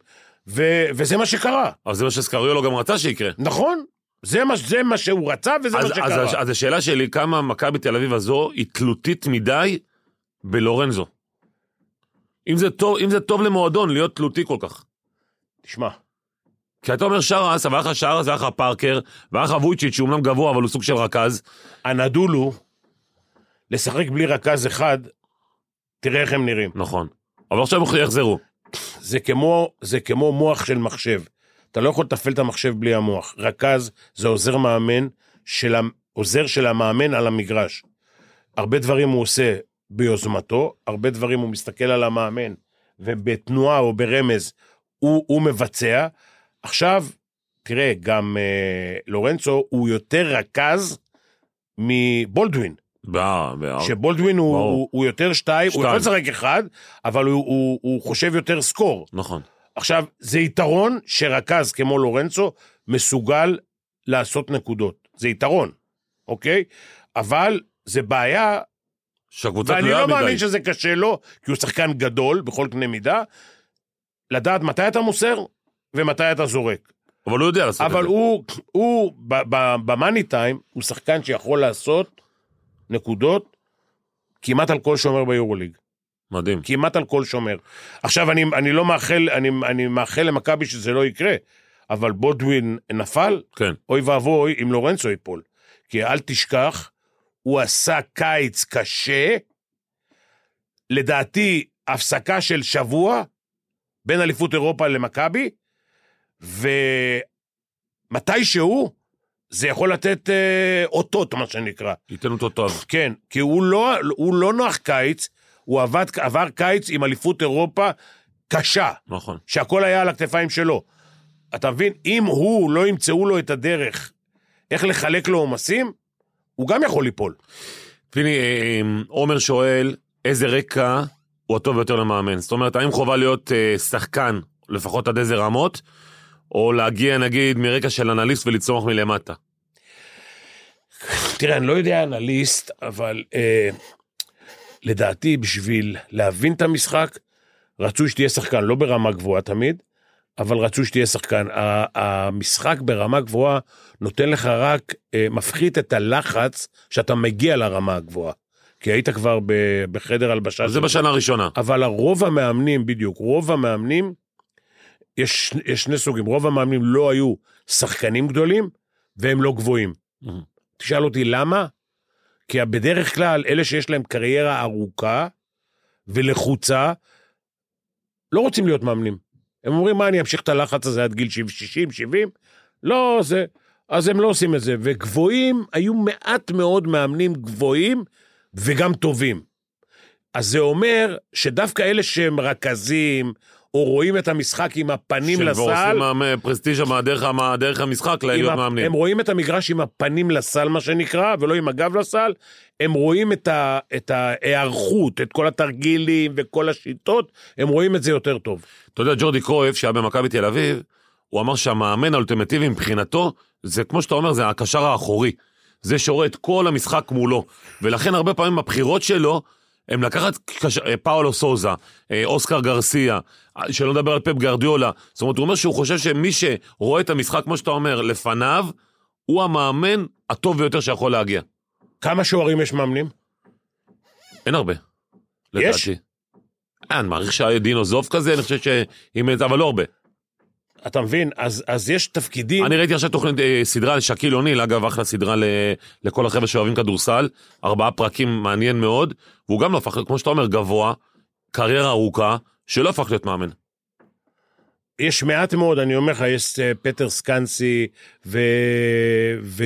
ו- וזה מה שקרה,
אבל זה מה שסקריולו גם רצה שיקרה.
נכון? זה מה, זה מה שהוא רצה וזה
אז,
מה שקרה.
אז, אז השאלה שלי, כמה מכבי תל אביב הזו היא תלותית מדי בלורנזו? אם זה טוב, אם זה טוב למועדון להיות תלותי כל כך.
תשמע,
כי אתה אומר שרס, אבל היה לך שרס, היה לך פארקר, והיה לך וויצ'יץ' שהוא אמנם גבוה, אבל הוא סוג של רכז.
הנדול הוא לשחק בלי רכז אחד, תראה איך הם נראים.
נכון. אבל עכשיו הם יחזרו.
זה כמו, זה כמו מוח של מחשב. אתה לא יכול לתפעל את המחשב בלי המוח. רכז זה עוזר מאמן של, המ- עוזר של המאמן על המגרש. הרבה דברים הוא עושה ביוזמתו, הרבה דברים הוא מסתכל על המאמן, ובתנועה או ברמז הוא, הוא מבצע. עכשיו, תראה, גם אה, לורנצו הוא יותר רכז מבולדווין.
בא- בא-
שבולדווין הוא,
ברור.
הוא, הוא יותר שתיים, הוא
שתיים.
יכול לשחק אחד, אבל הוא, הוא, הוא חושב יותר סקור.
נכון.
עכשיו, זה יתרון שרכז כמו לורנצו מסוגל לעשות נקודות. זה יתרון, אוקיי? אבל זה בעיה,
שהקבוצה
ואני
תלויה
לא מאמין
מדי.
שזה קשה לו, כי הוא שחקן גדול בכל קנה מידה, לדעת מתי אתה מוסר ומתי אתה זורק.
אבל הוא יודע לעשות את זה.
אבל הוא, הוא ב- ב- במאני טיים, הוא שחקן שיכול לעשות נקודות כמעט על כל שומר ביורוליג.
מדהים.
כמעט על כל שומר. עכשיו, אני, אני לא מאחל, אני, אני מאחל למכבי שזה לא יקרה, אבל בודווין נפל,
כן.
אוי ואבוי אם לורנצו ייפול. כי אל תשכח, הוא עשה קיץ קשה, לדעתי, הפסקה של שבוע בין אליפות אירופה למכבי, ומתישהו זה יכול לתת אה, אותות, מה שנקרא.
ייתן אותו טוב.
כן, כי הוא לא, הוא לא נוח קיץ, הוא עבד, עבר קיץ עם אליפות אירופה קשה,
נכון.
שהכל היה על הכתפיים שלו. אתה מבין? אם הוא, לא ימצאו לו את הדרך איך לחלק לו עומסים, הוא גם יכול ליפול.
פיני, אה, אה, עומר שואל, איזה רקע הוא הטוב ביותר למאמן? זאת אומרת, האם חובה להיות אה, שחקן, לפחות עד איזה רמות, או להגיע, נגיד, מרקע של אנליסט ולצמוח מלמטה?
תראה, אני לא יודע אנליסט, אבל אה, לדעתי, בשביל להבין את המשחק, רצוי שתהיה שחקן, לא ברמה גבוהה תמיד, אבל רצוי שתהיה שחקן. ה- המשחק ברמה גבוהה נותן לך רק, אה, מפחית את הלחץ שאתה מגיע לרמה הגבוהה. כי היית כבר ב- בחדר הלבשה.
אז זה
של-
בשנה הראשונה.
אבל הרוב המאמנים, בדיוק, רוב המאמנים, יש, יש שני סוגים, רוב המאמנים לא היו שחקנים גדולים, והם לא גבוהים.
Mhm.
תשאל אותי למה? כי בדרך כלל, אלה שיש להם קריירה ארוכה ולחוצה, לא רוצים להיות מאמנים. הם אומרים, מה, אני אמשיך את הלחץ הזה עד גיל 60, 70? לא, זה... אז הם לא עושים את זה. וגבוהים, היו מעט מאוד מאמנים גבוהים וגם טובים. אז זה אומר שדווקא אלה שהם רכזים, או רואים את המשחק עם
שהם
הפנים
כבר
לסל,
עושים אה, מאמ- פרסטיז'ה מה- דרך ה- דרך המשחק
עם
להיות
ה-
מאמנים.
הם רואים את המגרש עם הפנים לסל, מה שנקרא, ולא עם הגב לסל. הם רואים את, ה, את ההיערכות, את כל התרגילים וכל השיטות, הם רואים את זה יותר טוב.
אתה יודע, ג'ורדי קרויף, שהיה במכבי תל אביב, הוא אמר שהמאמן האולטימטיבי מבחינתו, זה כמו שאתה אומר, זה הקשר האחורי. זה שרואה את כל המשחק מולו. ולכן הרבה פעמים בבחירות שלו, הם לקחת קש... אה, פאולו סוזה, אה, אוסקר גרסיה, אה, שלא נדבר על פפ גרדיולה. זאת אומרת, הוא אומר שהוא חושב שמי שרואה את המשחק, כמו שאתה אומר, לפניו, הוא המאמן הטוב ביותר שיכול להגיע.
כמה שוערים יש מאמנים?
אין הרבה.
יש?
לדעתי. אה, אני מעריך שהיה דינו זוב כזה, אני חושב ש... אם- אבל לא הרבה.
אתה מבין? אז, אז יש תפקידים...
אני ראיתי עכשיו תוכנית, אה, סדרה על שקיל אוניל, אגב, אחלה סדרה ל, לכל החבר'ה שאוהבים כדורסל, ארבעה פרקים, מעניין מאוד, והוא גם לא הפך, להיות, כמו שאתה אומר, גבוה, קריירה ארוכה, שלא הפך להיות מאמן.
יש מעט מאוד, אני אומר לך, יש אה, פטר סקנסי ו... ו...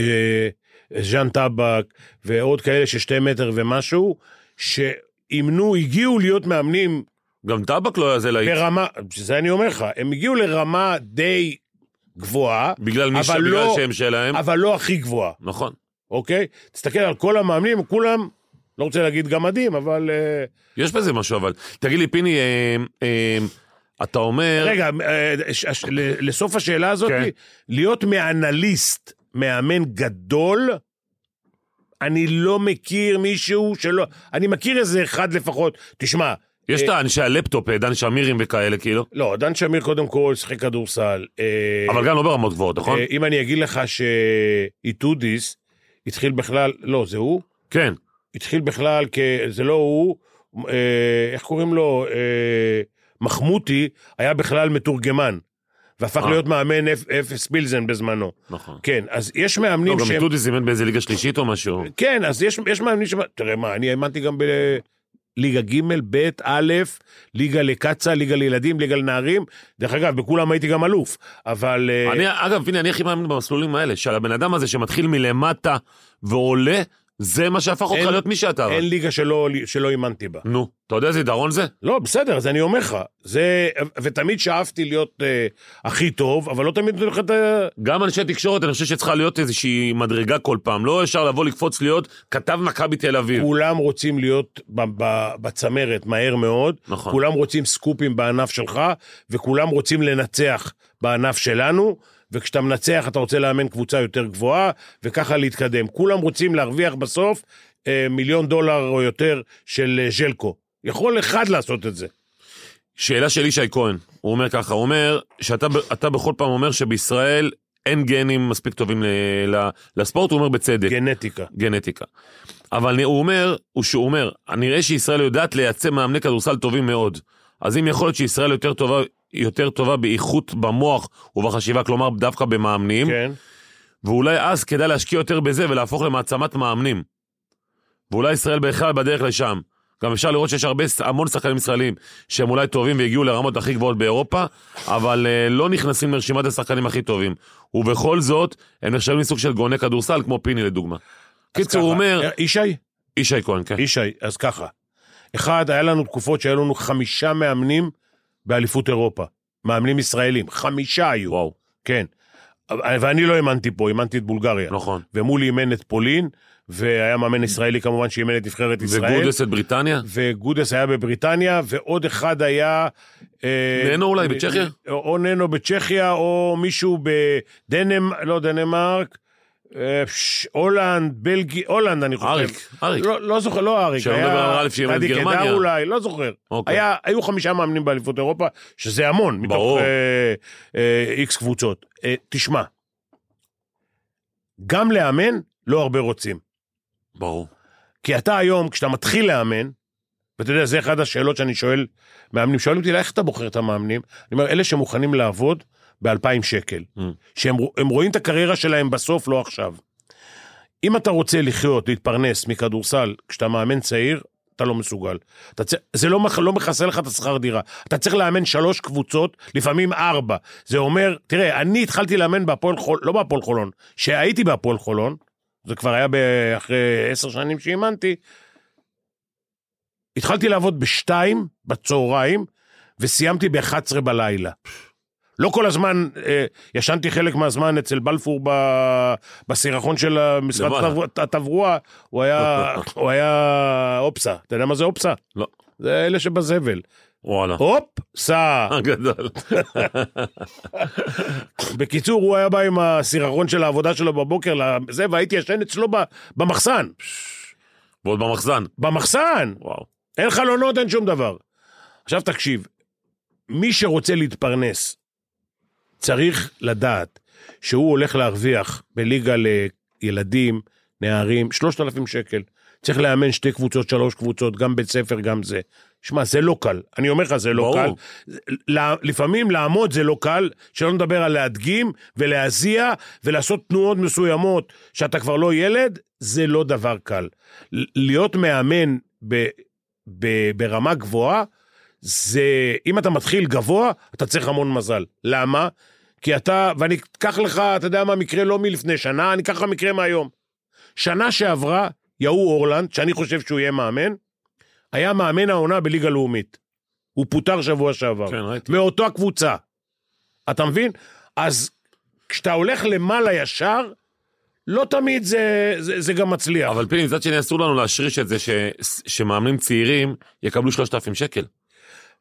ז'אן טבק ועוד כאלה ששתי מטר ומשהו, שאימנו, הגיעו להיות מאמנים
גם טבק לא היה זה להיט,
ברמה, זה אני אומר לך, הם הגיעו לרמה די גבוהה,
בגלל מי ש...
אבל
בגלל
לא-
שהם שלהם,
אבל לא הכי גבוהה,
נכון.
אוקיי? תסתכל על כל המאמנים, כולם, לא רוצה להגיד גמדים, אבל... אה,
יש בזה משהו, אבל... תגיד לי, פיני, אה, אה, אתה אומר...
רגע, אה, ש- ש- ל- לסוף השאלה הזאת,
כן.
להיות מאנליסט, מאמן גדול, אני לא מכיר מישהו שלא... אני מכיר איזה אחד לפחות. תשמע,
יש את האנשי הלפטופ, אה, דן שמירים וכאלה, כאילו,
לא, דן שמיר קודם כל שיחק כדורסל. אה,
אבל גם לא ברמות גבוהות, נכון?
אה, אם אני אגיד לך שאיתודיס התחיל בכלל, לא, זה הוא?
כן.
התחיל בכלל כ... זה לא הוא, אה, איך קוראים לו? אה, מחמותי היה בכלל מתורגמן, והפך
אה.
להיות מאמן אפ- אפס פילזן בזמנו.
נכון.
כן, אז יש
לא,
מאמנים
גם
שהם...
דודי זימן באיזה ליגה שלישית או משהו.
כן, אז יש, יש מאמנים ש... תראה מה, אני האמנתי גם בליגה ג', ב', א', ליגה לקצא, ליגה לילדים, ליגה לנערים. דרך אגב, בכולם הייתי גם אלוף, אבל... אה,
אני, אגב, הנה, אני הכי מאמין במסלולים האלה, שעל הבן אדם הזה שמתחיל מלמטה ועולה, זה מה שהפך אותך
אין-
להיות מי שאתה. אבל.
אין ליגה שלא, שלא אימנתי בה.
נו, אתה יודע איזה יתרון זה?
לא, בסדר, אז אני אומר לך. זה... ותמיד שאפתי להיות אה, הכי טוב, אבל לא תמיד נותן לך את ה...
גם אנשי תקשורת, אני חושב שצריכה להיות איזושהי מדרגה כל פעם. לא אפשר לבוא לקפוץ להיות כתב מכבי תל אביב.
כולם רוצים להיות ב- ב- בצמרת מהר מאוד,
נכון.
כולם רוצים סקופים בענף שלך, וכולם רוצים לנצח בענף שלנו, וכשאתה מנצח אתה רוצה לאמן קבוצה יותר גבוהה, וככה להתקדם. כולם רוצים להרוויח בסוף אה, מיליון דולר או יותר של אה, ז'לקו. יכול אחד לעשות את זה.
שאלה של ישי כהן, הוא אומר ככה, הוא אומר שאתה ב- אתה בכל פעם אומר שבישראל אין גנים מספיק טובים ל- ל- לספורט, הוא אומר בצדק,
גנטיקה.
גנטיקה. אבל הוא אומר, הוא שהוא אומר, נראה שישראל יודעת לייצא מאמני כדורסל טובים מאוד. אז אם יכול להיות שישראל יותר טובה, יותר טובה באיכות במוח ובחשיבה, כלומר דווקא במאמנים,
כן.
ואולי אז כדאי להשקיע יותר בזה ולהפוך למעצמת מאמנים. ואולי ישראל בכלל בדרך לשם. גם אפשר לראות שיש הרבה, המון שחקנים ישראלים שהם אולי טובים והגיעו לרמות הכי גבוהות באירופה, אבל אה, לא נכנסים לרשימת השחקנים הכי טובים. ובכל זאת, הם נחשבים לסוג של גאוני כדורסל, כמו פיני לדוגמה. קיצור, הוא
ככה. אה,
אומר,
ישי,
ישי כהן, כן.
ישי, אז ככה. אחד, היה לנו תקופות שהיו לנו חמישה מאמנים באליפות אירופה. מאמנים ישראלים. חמישה היו.
וואו,
כן. אבל- ואני לא האמנתי פה, האמנתי את בולגריה.
נכון.
ומולי אימן את פולין, והיה מאמן ישראלי כמובן שאימן את נבחרת ישראל.
וגודלס את בריטניה?
וגודס היה בבריטניה, ועוד אחד היה... אה,
ננו אולי
אה,
בצ'כיה?
או, או ננו בצ'כיה, או מישהו בדנמרק, לא דנמרק, אה, פש, הולנד, בלגי, הולנד אני חושב.
אריק, אריק.
לא, לא זוכר, לא אריק.
שלא נדבר על א' שאימן את
גדי
גרמניה.
קדר אולי, לא זוכר.
אוקיי.
היה, היו חמישה מאמנים באליפות אירופה, שזה המון,
ברור.
מתוך אה, אה, איקס קבוצות. אה, תשמע, גם לאמן לא הרבה רוצים.
ברור.
כי אתה היום, כשאתה מתחיל לאמן, ואתה יודע, זה אחת השאלות שאני שואל מאמנים, שואלים אותי, איך אתה בוחר את המאמנים? אני אומר, אלה שמוכנים לעבוד ב-2,000 שקל,
Mm.
שהם הם רואים את הקריירה שלהם בסוף, לא עכשיו. אם אתה רוצה לחיות, להתפרנס מכדורסל, כשאתה מאמן צעיר, אתה לא מסוגל. אתה צ... זה לא, מח... לא מכסה לך את השכר דירה. אתה צריך לאמן שלוש קבוצות, לפעמים ארבע. זה אומר, תראה, אני התחלתי לאמן בהפועל חולון, לא בהפועל חולון, שהייתי בהפועל חולון, זה כבר היה ב- אחרי עשר שנים שאימנתי, התחלתי לעבוד בשתיים בצהריים, וסיימתי ב-11 בלילה. לא כל הזמן, אה, ישנתי חלק מהזמן אצל בלפור ב- בסירחון של משרד
למעלה.
התברוא- התברואה, הוא היה, הוא היה אופסה. אתה יודע מה זה אופסה?
לא.
זה אלה שבזבל.
וואלה.
אופסה.
אה. גדל.
בקיצור, הוא היה בא עם הסירחון של העבודה שלו בבוקר לזה, והייתי ישן אצלו ב- במחסן.
ועוד במחזן.
במחסן!
וואו.
אין חלונות, אין שום דבר. עכשיו תקשיב, מי שרוצה להתפרנס צריך לדעת שהוא הולך להרוויח בליגה לילדים, נערים, 3,000 שקל. צריך לאמן שתי קבוצות, שלוש קבוצות, גם בית ספר, גם זה. שמע, זה לא קל. אני אומר לך, זה לא
ברור.
ברור. קל. ל- לפעמים לעמוד זה לא קל, שלא נדבר על להדגים ולהזיע ולעשות תנועות מסוימות שאתה כבר לא ילד, זה לא דבר קל. ל- להיות מאמן ב, ב, ברמה גבוהה, זה, אם אתה מתחיל גבוה, אתה צריך המון מזל. למה? כי אתה, ואני אקח לך, אתה יודע מה, מקרה לא מלפני שנה, אני אקח לך מקרה מהיום. שנה שעברה, יהוא אורלנד, שאני חושב שהוא יהיה מאמן, היה מאמן העונה בליגה לאומית. הוא פוטר שבוע שעבר.
כן, ראיתי.
מאותו הקבוצה. אתה מבין? אז כשאתה הולך למעלה ישר, לא תמיד זה, זה, זה גם מצליח.
אבל פיני, מצד שני אסור לנו להשריש את זה ש... שמאמנים צעירים יקבלו 3,000 שקל.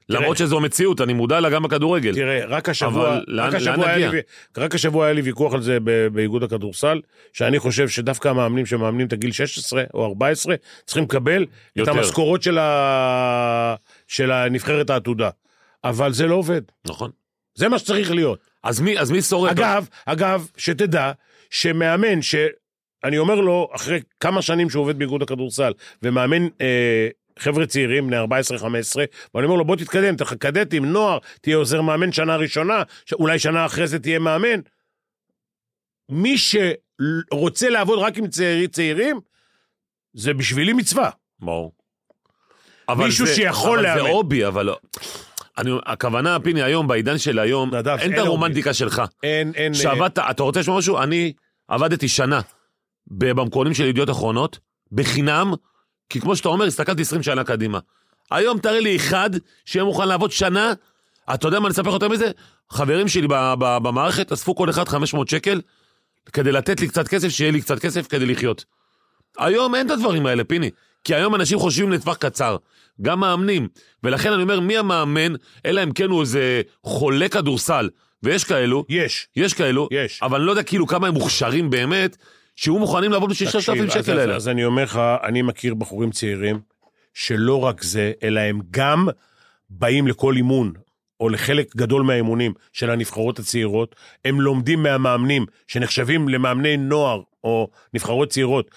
למרות שזו המציאות, אני מודע לה גם בכדורגל.
תראה, רק השבוע,
אבל לאן-
רק,
לאן
השבוע היה
נגיע?
לי, ו- רק השבוע היה לי ויכוח על זה ב- באיגוד הכדורסל, שאני חושב שדווקא המאמנים שמאמנים את הגיל 16 או 14 צריכים לקבל
יותר.
את המשכורות של, ה... של הנבחרת העתודה. אבל זה לא עובד.
נכון.
זה מה שצריך להיות.
אז מי, אז מי שורד?
אגב, אגב, שתדע שמאמן ש... אני אומר לו, אחרי כמה שנים שהוא עובד באיגוד הכדורסל, ומאמן אה, חבר'ה צעירים, בני 14-15, ואני אומר לו, בוא תתקדם, תלך קדטים, נוער, תהיה עוזר מאמן שנה ראשונה, ש- אולי שנה אחרי זה תהיה מאמן. מי שרוצה לעבוד רק עם צעירי צעירים, זה בשבילי מצווה.
ברור. אבל
מישהו
זה-
שיכול
אבל זה
לאמן.
הובי, אבל... לא- אני, הכוונה, פיני, היום, בעידן של היום,
נדב,
אין את
אין
הרומנטיקה שלך.
אין, אין...
שעבדת, אתה רוצה לשמוע משהו? אני עבדתי שנה ב- במקורונים של ידיעות אחרונות, בחינם, כי כמו שאתה אומר, הסתכלתי 20 שנה קדימה. היום תראה לי אחד שיהיה מוכן לעבוד שנה, אתה יודע מה אני אספר לך יותר מזה? חברים שלי ב- ב- במערכת אספו כל אחד 500 שקל כדי לתת לי קצת כסף, שיהיה לי קצת כסף כדי לחיות. היום אין את הדברים האלה, פיני. כי היום אנשים חושבים לטווח קצר, גם מאמנים. ולכן אני אומר, מי המאמן, אלא אם כן הוא איזה חולה כדורסל. ויש כאלו,
יש.
יש כאלו,
יש.
אבל אני לא יודע כאילו כמה הם מוכשרים באמת, שיהיו מוכנים לעבוד בשביל 6,000
תקשיב, אז-
שקל האלה.
אז- אז אני אומר לך, אני מכיר בחורים צעירים שלא רק זה, אלא הם גם באים לכל אימון, או לחלק גדול מהאימונים של הנבחרות הצעירות, הם לומדים מהמאמנים שנחשבים למאמני נוער או נבחרות צעירות,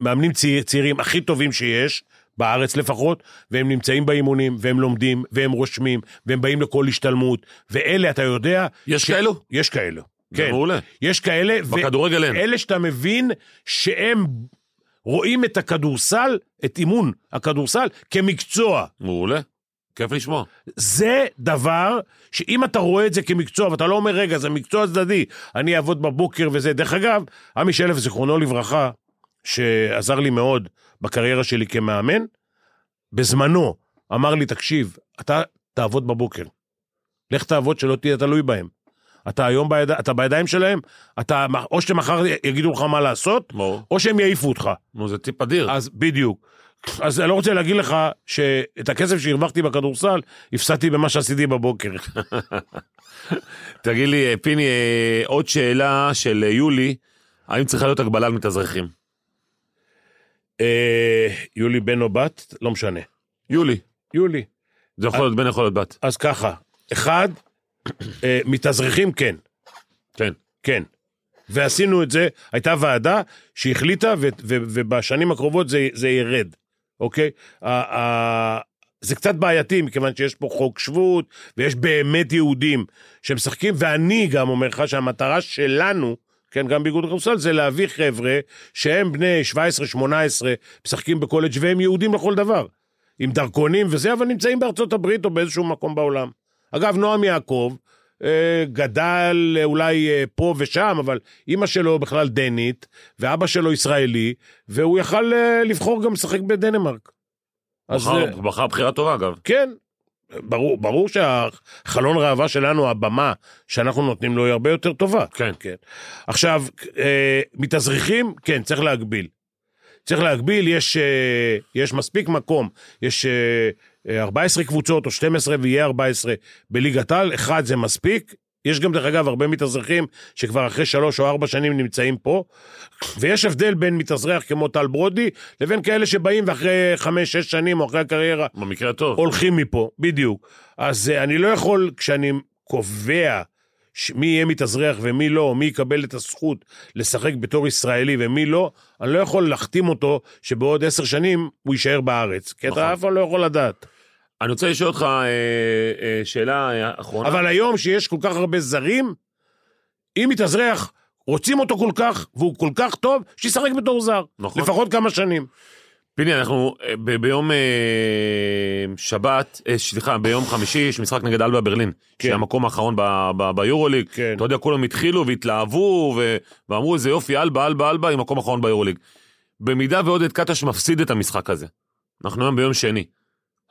מאמנים צעיר, צעירים הכי טובים שיש, בארץ לפחות, והם נמצאים באימונים, והם לומדים, והם רושמים, והם באים לכל השתלמות, ואלה, אתה יודע...
יש כאלו?
יש כאלו.
זה
כן,
מעולה.
יש כאלה, ו-
בכדורגל אין.
אלה שאתה מבין שהם רואים את הכדורסל, את אימון הכדורסל, כמקצוע.
מעולה. כיף לשמוע.
זה דבר שאם אתה רואה את זה כמקצוע, ואתה לא אומר, רגע, זה מקצוע צדדי, אני אעבוד בבוקר וזה. דרך אגב, עמי שלף, זיכרונו לברכה, שעזר לי מאוד בקריירה שלי כמאמן, בזמנו אמר לי, תקשיב, אתה תעבוד בבוקר. לך תעבוד שלא תהיה תלוי בהם. אתה היום ביד... אתה בידיים שלהם, אתה... או שמחר יגידו לך מה לעשות,
ברור.
או שהם יעיפו אותך.
נו, זה טיפ אדיר.
אז בדיוק. אז אני לא רוצה להגיד לך שאת הכסף שהרווחתי בכדורסל, הפסדתי במה שעשיתי בבוקר.
תגיד לי, אה, פיני, אה, עוד שאלה של אה, יולי, האם צריכה להיות הגבלה על מתאזרחים?
אה, יולי בן או בת, לא משנה.
יולי.
יולי.
זה יכול להיות בן, יכול להיות בת.
אז ככה, אחד, אה, מתאזרחים כן,
כן.
כן. ועשינו את זה, הייתה ועדה שהחליטה, ו- ו- ובשנים הקרובות זה, זה ירד, אוקיי? ה- ה- זה קצת בעייתי, מכיוון שיש פה חוק שבות, ויש באמת יהודים שמשחקים, ואני גם אומר לך שהמטרה שלנו, כן, גם באיגוד הכדורסל, זה להביא חבר'ה שהם בני 17-18, משחקים בקולג' והם יהודים לכל דבר. עם דרכונים וזה, אבל נמצאים בארצות הברית או באיזשהו מקום בעולם. אגב, נועם יעקב אה, גדל אה, אולי אה, פה ושם, אבל אימא שלו בכלל דנית, ואבא שלו ישראלי, והוא יכל אה, לבחור גם לשחק בדנמרק. אז אה,
בחר- בחר בחירה טובה, אגב.
כן, ברור, ברור שהחלון ראווה שלנו, הבמה שאנחנו נותנים לו היא הרבה יותר טובה.
כן.
כן. עכשיו, אה, מתאזרחים, כן, צריך להגביל. צריך להגביל, יש, אה, יש מספיק מקום, יש אה, אה, 14 קבוצות או 12 ויהיה 14 בליגת על, אחד זה מספיק. יש גם, דרך אגב, הרבה מתאזרחים שכבר אחרי שלוש או ארבע שנים נמצאים פה, ויש הבדל בין מתאזרח כמו טל ברודי לבין כאלה שבאים ואחרי חמש, שש שנים או אחרי הקריירה
במקרה הטוב.
הולכים מפה, בדיוק. אז אה, אני לא יכול, כשאני קובע ש- מי יהיה מתאזרח ומי לא, מי יקבל את הזכות לשחק בתור ישראלי ומי לא, אני לא יכול להחתים אותו שבעוד עשר שנים הוא יישאר בארץ. כי
נכון.
אתה אף פעם לא יכול לדעת.
אני רוצה לשאול אותך אה, אה, שאלה אה, אחרונה.
אבל היום שיש כל כך הרבה זרים, אם מתאזרח, רוצים אותו כל כך, והוא כל כך טוב, שישחק בתור זר.
נכון.
לפחות כמה שנים.
פיני, אנחנו אה, ב- ביום אה, שבת, אה, סליחה, ביום חמישי יש משחק נגד אלבה ברלין, שהיא המקום האחרון ב- ב- ביורוליג.
כן.
אתה יודע, כולם התחילו והתלהבו ו- ואמרו, איזה יופי, אלבה, אלבה, אלבה, היא מקום אחרון ביורוליג. במידה ועודד קטש מפסיד את המשחק הזה, אנחנו היום ביום שני.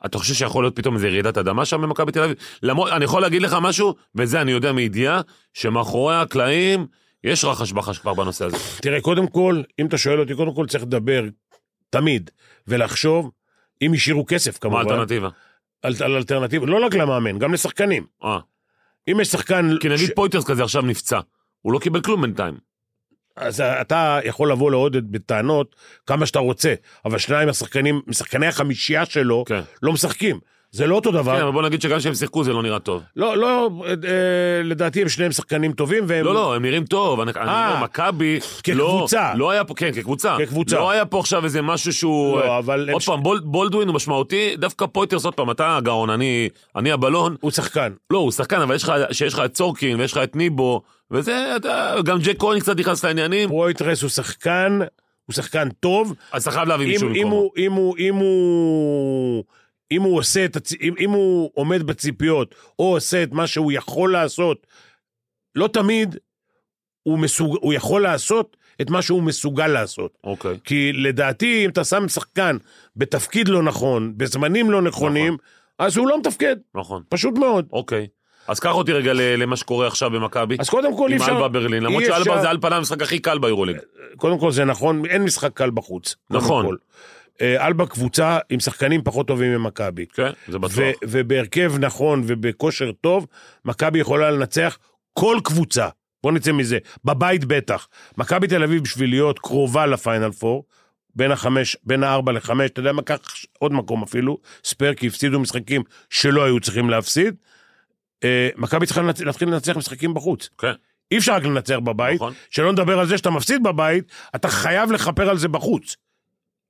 אתה חושב שיכול להיות פתאום איזה רעידת אדמה שם במכבי תל אביב? למרות, אני יכול להגיד לך משהו, וזה אני יודע מידיעה, שמאחורי הקלעים יש רחש בחש כבר בנושא הזה.
תראה, קודם כל, אם אתה שואל אותי, קודם כל צריך לדבר, תמיד, ולחשוב, אם השאירו כסף
מה
כמובן.
האלטרנטיבה?
על, על אלטרנטיבה, לא רק למאמן, גם לשחקנים.
אה.
אם יש שחקן...
כי נגיד פויטרס כזה עכשיו נפצע, הוא לא קיבל כלום בינתיים.
אז אתה יכול לבוא לעודד בטענות כמה שאתה רוצה, אבל שניים השחקנים, משחקני החמישייה שלו,
כן.
לא משחקים. זה לא אותו דבר.
כן, אבל בוא נגיד שגם כשהם שיחקו זה לא נראה טוב.
לא, לא, אה, אה, לדעתי הם שניהם שחקנים טובים, והם...
לא, לא, הם נראים טוב. אני אני
אה.
אומר, מכבי... לא-
כקבוצה.
לא היה פה, כן, כקבוצה.
כקבוצה.
לא היה פה עכשיו איזה משהו שהוא...
לא, אבל הם
עוד
ש-
פעם, בול- בולדווין הוא משמעותי, דווקא פויטרס, עוד פעם, אתה הגאון, אני אני הבלון.
הוא שחקן.
לא, הוא שחקן, אבל יש לך, שיש לך את צורקין ויש לך את ניבו, וזה, אתה, גם ג'ק כהן קצת נכנס לעניינים,
פרויטרס הוא שחקן, הוא שחקן טוב,
אז אתה חייב להביא מישהו
אם, אם,
במקומו.
הוא, אם, הוא, אם, הוא, אם הוא עושה את הצ... אם, אם הוא עומד בציפיות, או עושה את מה שהוא יכול לעשות, לא תמיד הוא, מסוג... הוא יכול לעשות את מה שהוא מסוגל לעשות.
אוקיי.
כי לדעתי, אם אתה שם שחקן בתפקיד לא נכון, בזמנים לא נכונים,
נכון.
אז הוא לא מתפקד,
נכון.
פשוט מאוד.
אוקיי. אז קח אותי רגע ל- למה שקורה עכשיו במכבי.
אז קודם כל אי
עם
אפשר...
אלבה ברלין, למרות
אי
שאלבה
אפשר-
זה על פניו המשחק הכי קל ביורוליג.
קודם כל זה נכון, אין משחק קל בחוץ. קודם
נכון.
כל. אה, אלבה קבוצה עם שחקנים פחות טובים ממכבי.
כן, זה בטוח.
ו- ובהרכב נכון ובכושר טוב, מכבי יכולה לנצח כל קבוצה. בוא נצא מזה. בבית בטח. מכבי תל אביב בשביל להיות קרובה לפיינל פור, בין החמש, בין הארבע לחמש, אתה יודע מה, קח עוד מקום אפילו, ספייר, כי הפסידו משחקים שלא היו צריכים להפסיד. אה, מכבי צריכה לנצ- להתחיל לנצח משחקים בחוץ.
כן.
אי אפשר רק לנצח בבית,
נכון.
נכון. שלא נדבר על זה שאתה מפסיד בבית, אתה חייב לכפר על זה בחוץ.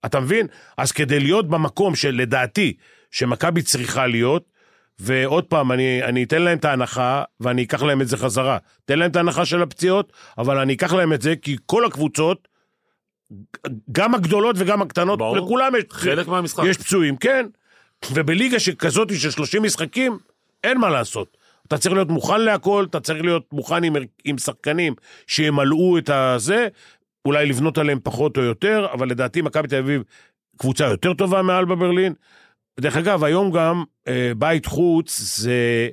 אתה מבין? אז כדי להיות במקום שלדעתי, שמכבי צריכה להיות, ועוד פעם, אני, אני אתן להם את ההנחה, ואני אקח להם את זה חזרה. תן להם את ההנחה של הפציעות, אבל אני אקח להם את זה, כי כל הקבוצות, גם הגדולות וגם הקטנות,
ברור.
לכולם יש,
חלק מהמשחק.
יש פצועים, כן. ובליגה שכזאת של 30 משחקים, אין מה לעשות. אתה צריך להיות מוכן להכל, אתה צריך להיות מוכן עם, הר- עם שחקנים שימלאו את הזה, אולי לבנות עליהם פחות או יותר, אבל לדעתי מכבי תל אביב קבוצה יותר טובה מאלבה ברלין. דרך אגב, היום גם אה, בית חוץ זה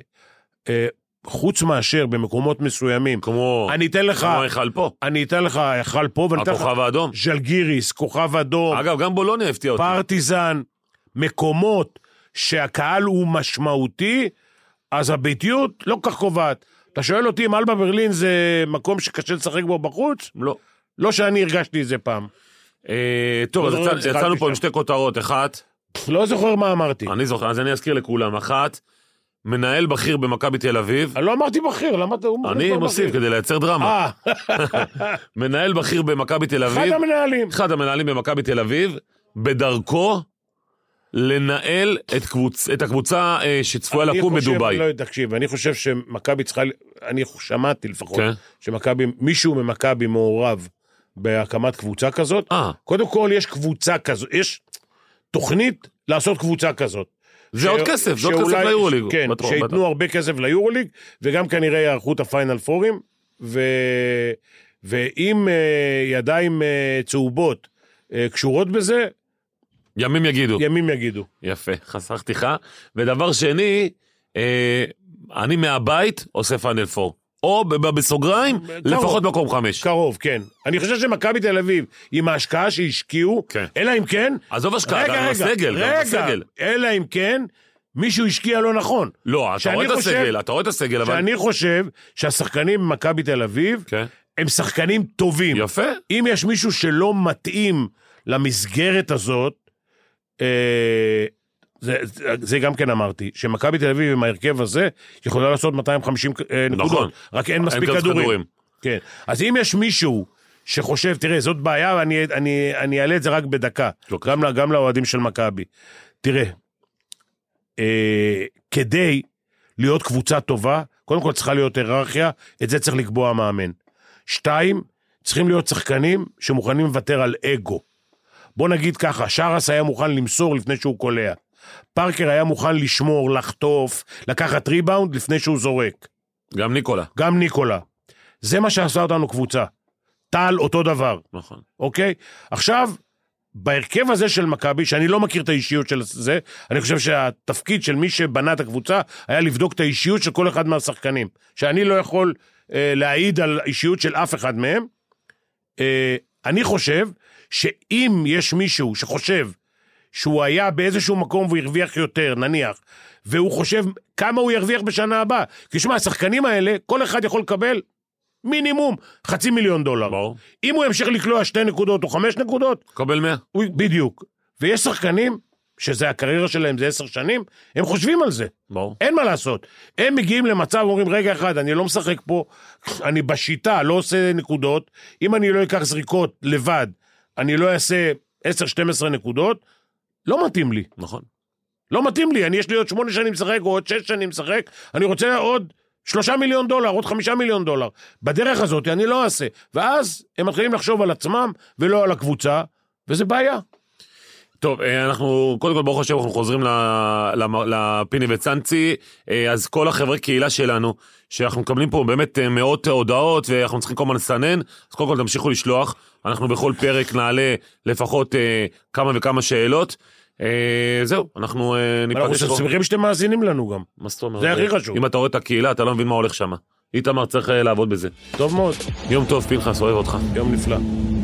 אה, חוץ מאשר במקומות מסוימים.
כמו...
אני אתן לך,
כמו היכל פה.
אני אתן לך היכל פה, ואני אתן לך
הכוכב האדום.
ז'לגיריס, כוכב אדום,
אגב, גם בולוניה הפתיע אותי.
פרטיזן, מקומות שהקהל הוא משמעותי, אז הביתיות לא כל כך קובעת. אתה שואל אותי אם אלבה ברלין זה מקום שקשה לשחק בו בחוץ?
לא.
לא שאני הרגשתי את זה פעם.
אה, טוב, אז
לא
יצא-
זוכר,
יצאנו
התחלתי
פה עם
שם.
שתי כותרות. אחת,
לא זוכר מה אמרתי.
אני זוכר, אז אני אזכיר לכולם. אחת, מנהל בכיר במכבי תל אביב.
אני לא אמרתי בכיר, למה אתה... הוא אומר
אני
כבר
מוסיף
בכיר.
כדי לייצר דרמה.
אה,
מנהל בכיר במכבי תל
אחד
אביב.
המנהלים.
אחד המנהלים במכבי תל אביב, בדרכו לנהל את, קבוצ... את הקבוצה אה, שצפויה
אני
לקום
חושב-
בדובאי.
לא, תקשיב, אני חושב שמכבי צריכה... ל- אני שמעתי לפחות,
כן.
שמכבי, מישהו ממכבי מעורב בהקמת קבוצה כזאת.
אה,
קודם כל, יש קבוצה כזאת, יש תוכנית לעשות קבוצה כזאת.
זה עוד כסף, זה עוד כסף
שאולי-
ליורוליג.
כן,
בטוח, בטוח.
שייתנו הרבה כסף ליורוליג, וגם כנראה יערכו את הפיינל פורים, ו... ואם אה, ידיים אה, צהובות אה, קשורות בזה,
ימים יגידו.
ימים יגידו.
יפה, חסכתי לך. ודבר שני, אה, אני מהבית עושה פאנל פור. או ב- ב- בסוגריים,
קרוב.
לפחות מקום חמש.
קרוב, כן. אני חושב שמכבי תל אביב, עם ההשקעה שהשקיעו,
כן.
אלא אם כן...
עזוב השקעה, גם בסגל, גם
רגע,
בסגל.
אלא אם כן מישהו השקיע לא נכון.
לא, אתה
שאני
רואה את
חושב-
הסגל, אתה רואה את הסגל, אבל...
שאני חושב שהשחקנים במכבי תל אביב
כן.
הם שחקנים טובים.
יפה.
אם יש מישהו שלא מתאים למסגרת הזאת, אה, זה, זה- זה גם כן אמרתי, שמכבי תל אביב עם ההרכב הזה יכולה לעשות 250 אה, נקודות,
נכון.
רק אין
הם
מספיק
גם
כדורים.
כדורים.
כן. אז אם יש מישהו שחושב, תראה, זאת בעיה, ואני אני, אני אעלה את זה רק בדקה.
בבקשה.
גם, ל- גם לאוהדים של מכבי. תראה, אה, כדי להיות קבוצה טובה, קודם כל צריכה להיות היררכיה, את זה צריך לקבוע המאמן. שתיים, צריכים להיות שחקנים שמוכנים לוותר על אגו. בוא נגיד ככה, שרס היה מוכן למסור לפני שהוא קולע. פארקר היה מוכן לשמור, לחטוף, לקחת ריבאונד לפני שהוא זורק.
גם ניקולה.
גם ניקולה. זה מה שעשה אותנו קבוצה. טל אותו דבר,
נכון.
אוקיי? עכשיו, בהרכב הזה של מכבי, שאני לא מכיר את האישיות של זה, אני חושב שהתפקיד של מי שבנה את הקבוצה היה לבדוק את האישיות של כל אחד מהשחקנים. שאני לא יכול אה, להעיד על אישיות של אף אחד מהם. אה, אני חושב שאם יש מישהו שחושב שהוא היה באיזשהו מקום והוא הרוויח יותר, נניח, והוא חושב כמה הוא ירוויח בשנה הבאה. כי שמע, השחקנים האלה, כל אחד יכול לקבל מינימום חצי מיליון דולר.
ברור.
אם הוא ימשיך לקלוע שתי נקודות או חמש נקודות,
קבל מאה.
הוא, בדיוק. ויש שחקנים, שזה הקריירה שלהם, זה עשר שנים, הם חושבים על זה.
ברור.
אין מה לעשות. הם מגיעים למצב, אומרים, רגע אחד, אני לא משחק פה, אני בשיטה, לא עושה נקודות. אם אני לא אקח זריקות לבד, אני לא אעשה 10-12 נקודות, לא מתאים לי.
נכון.
לא מתאים לי, אני יש לי עוד שמונה שנים לשחק, או עוד שש שנים לשחק, אני רוצה עוד שלושה מיליון דולר, עוד חמישה מיליון דולר. בדרך הזאת אני לא אעשה. ואז הם מתחילים לחשוב על עצמם ולא על הקבוצה, וזה בעיה.
טוב, אה, אנחנו, קודם כל, ברוך השם, אנחנו חוזרים ל- למ- לפיני וצאנצי. אה, אז כל החברי קהילה שלנו, שאנחנו מקבלים פה באמת אה, מאות הודעות, ואנחנו צריכים כל הזמן לסנן, אז קודם כל תמשיכו לשלוח. אנחנו בכל פרק נעלה לפחות אה, כמה וכמה שאלות. אה, זהו, אנחנו אה,
אנחנו
ניפגש פה.
שמחים שאתם מאזינים לנו גם.
מה זאת אומרת?
זה הכי חשוב.
אם אתה רואה את הקהילה, אתה לא מבין מה הולך שם. איתמר צריך אה, לעבוד בזה.
טוב מאוד,
יום טוב, פנחס, אוהב אותך.
יום נפלא.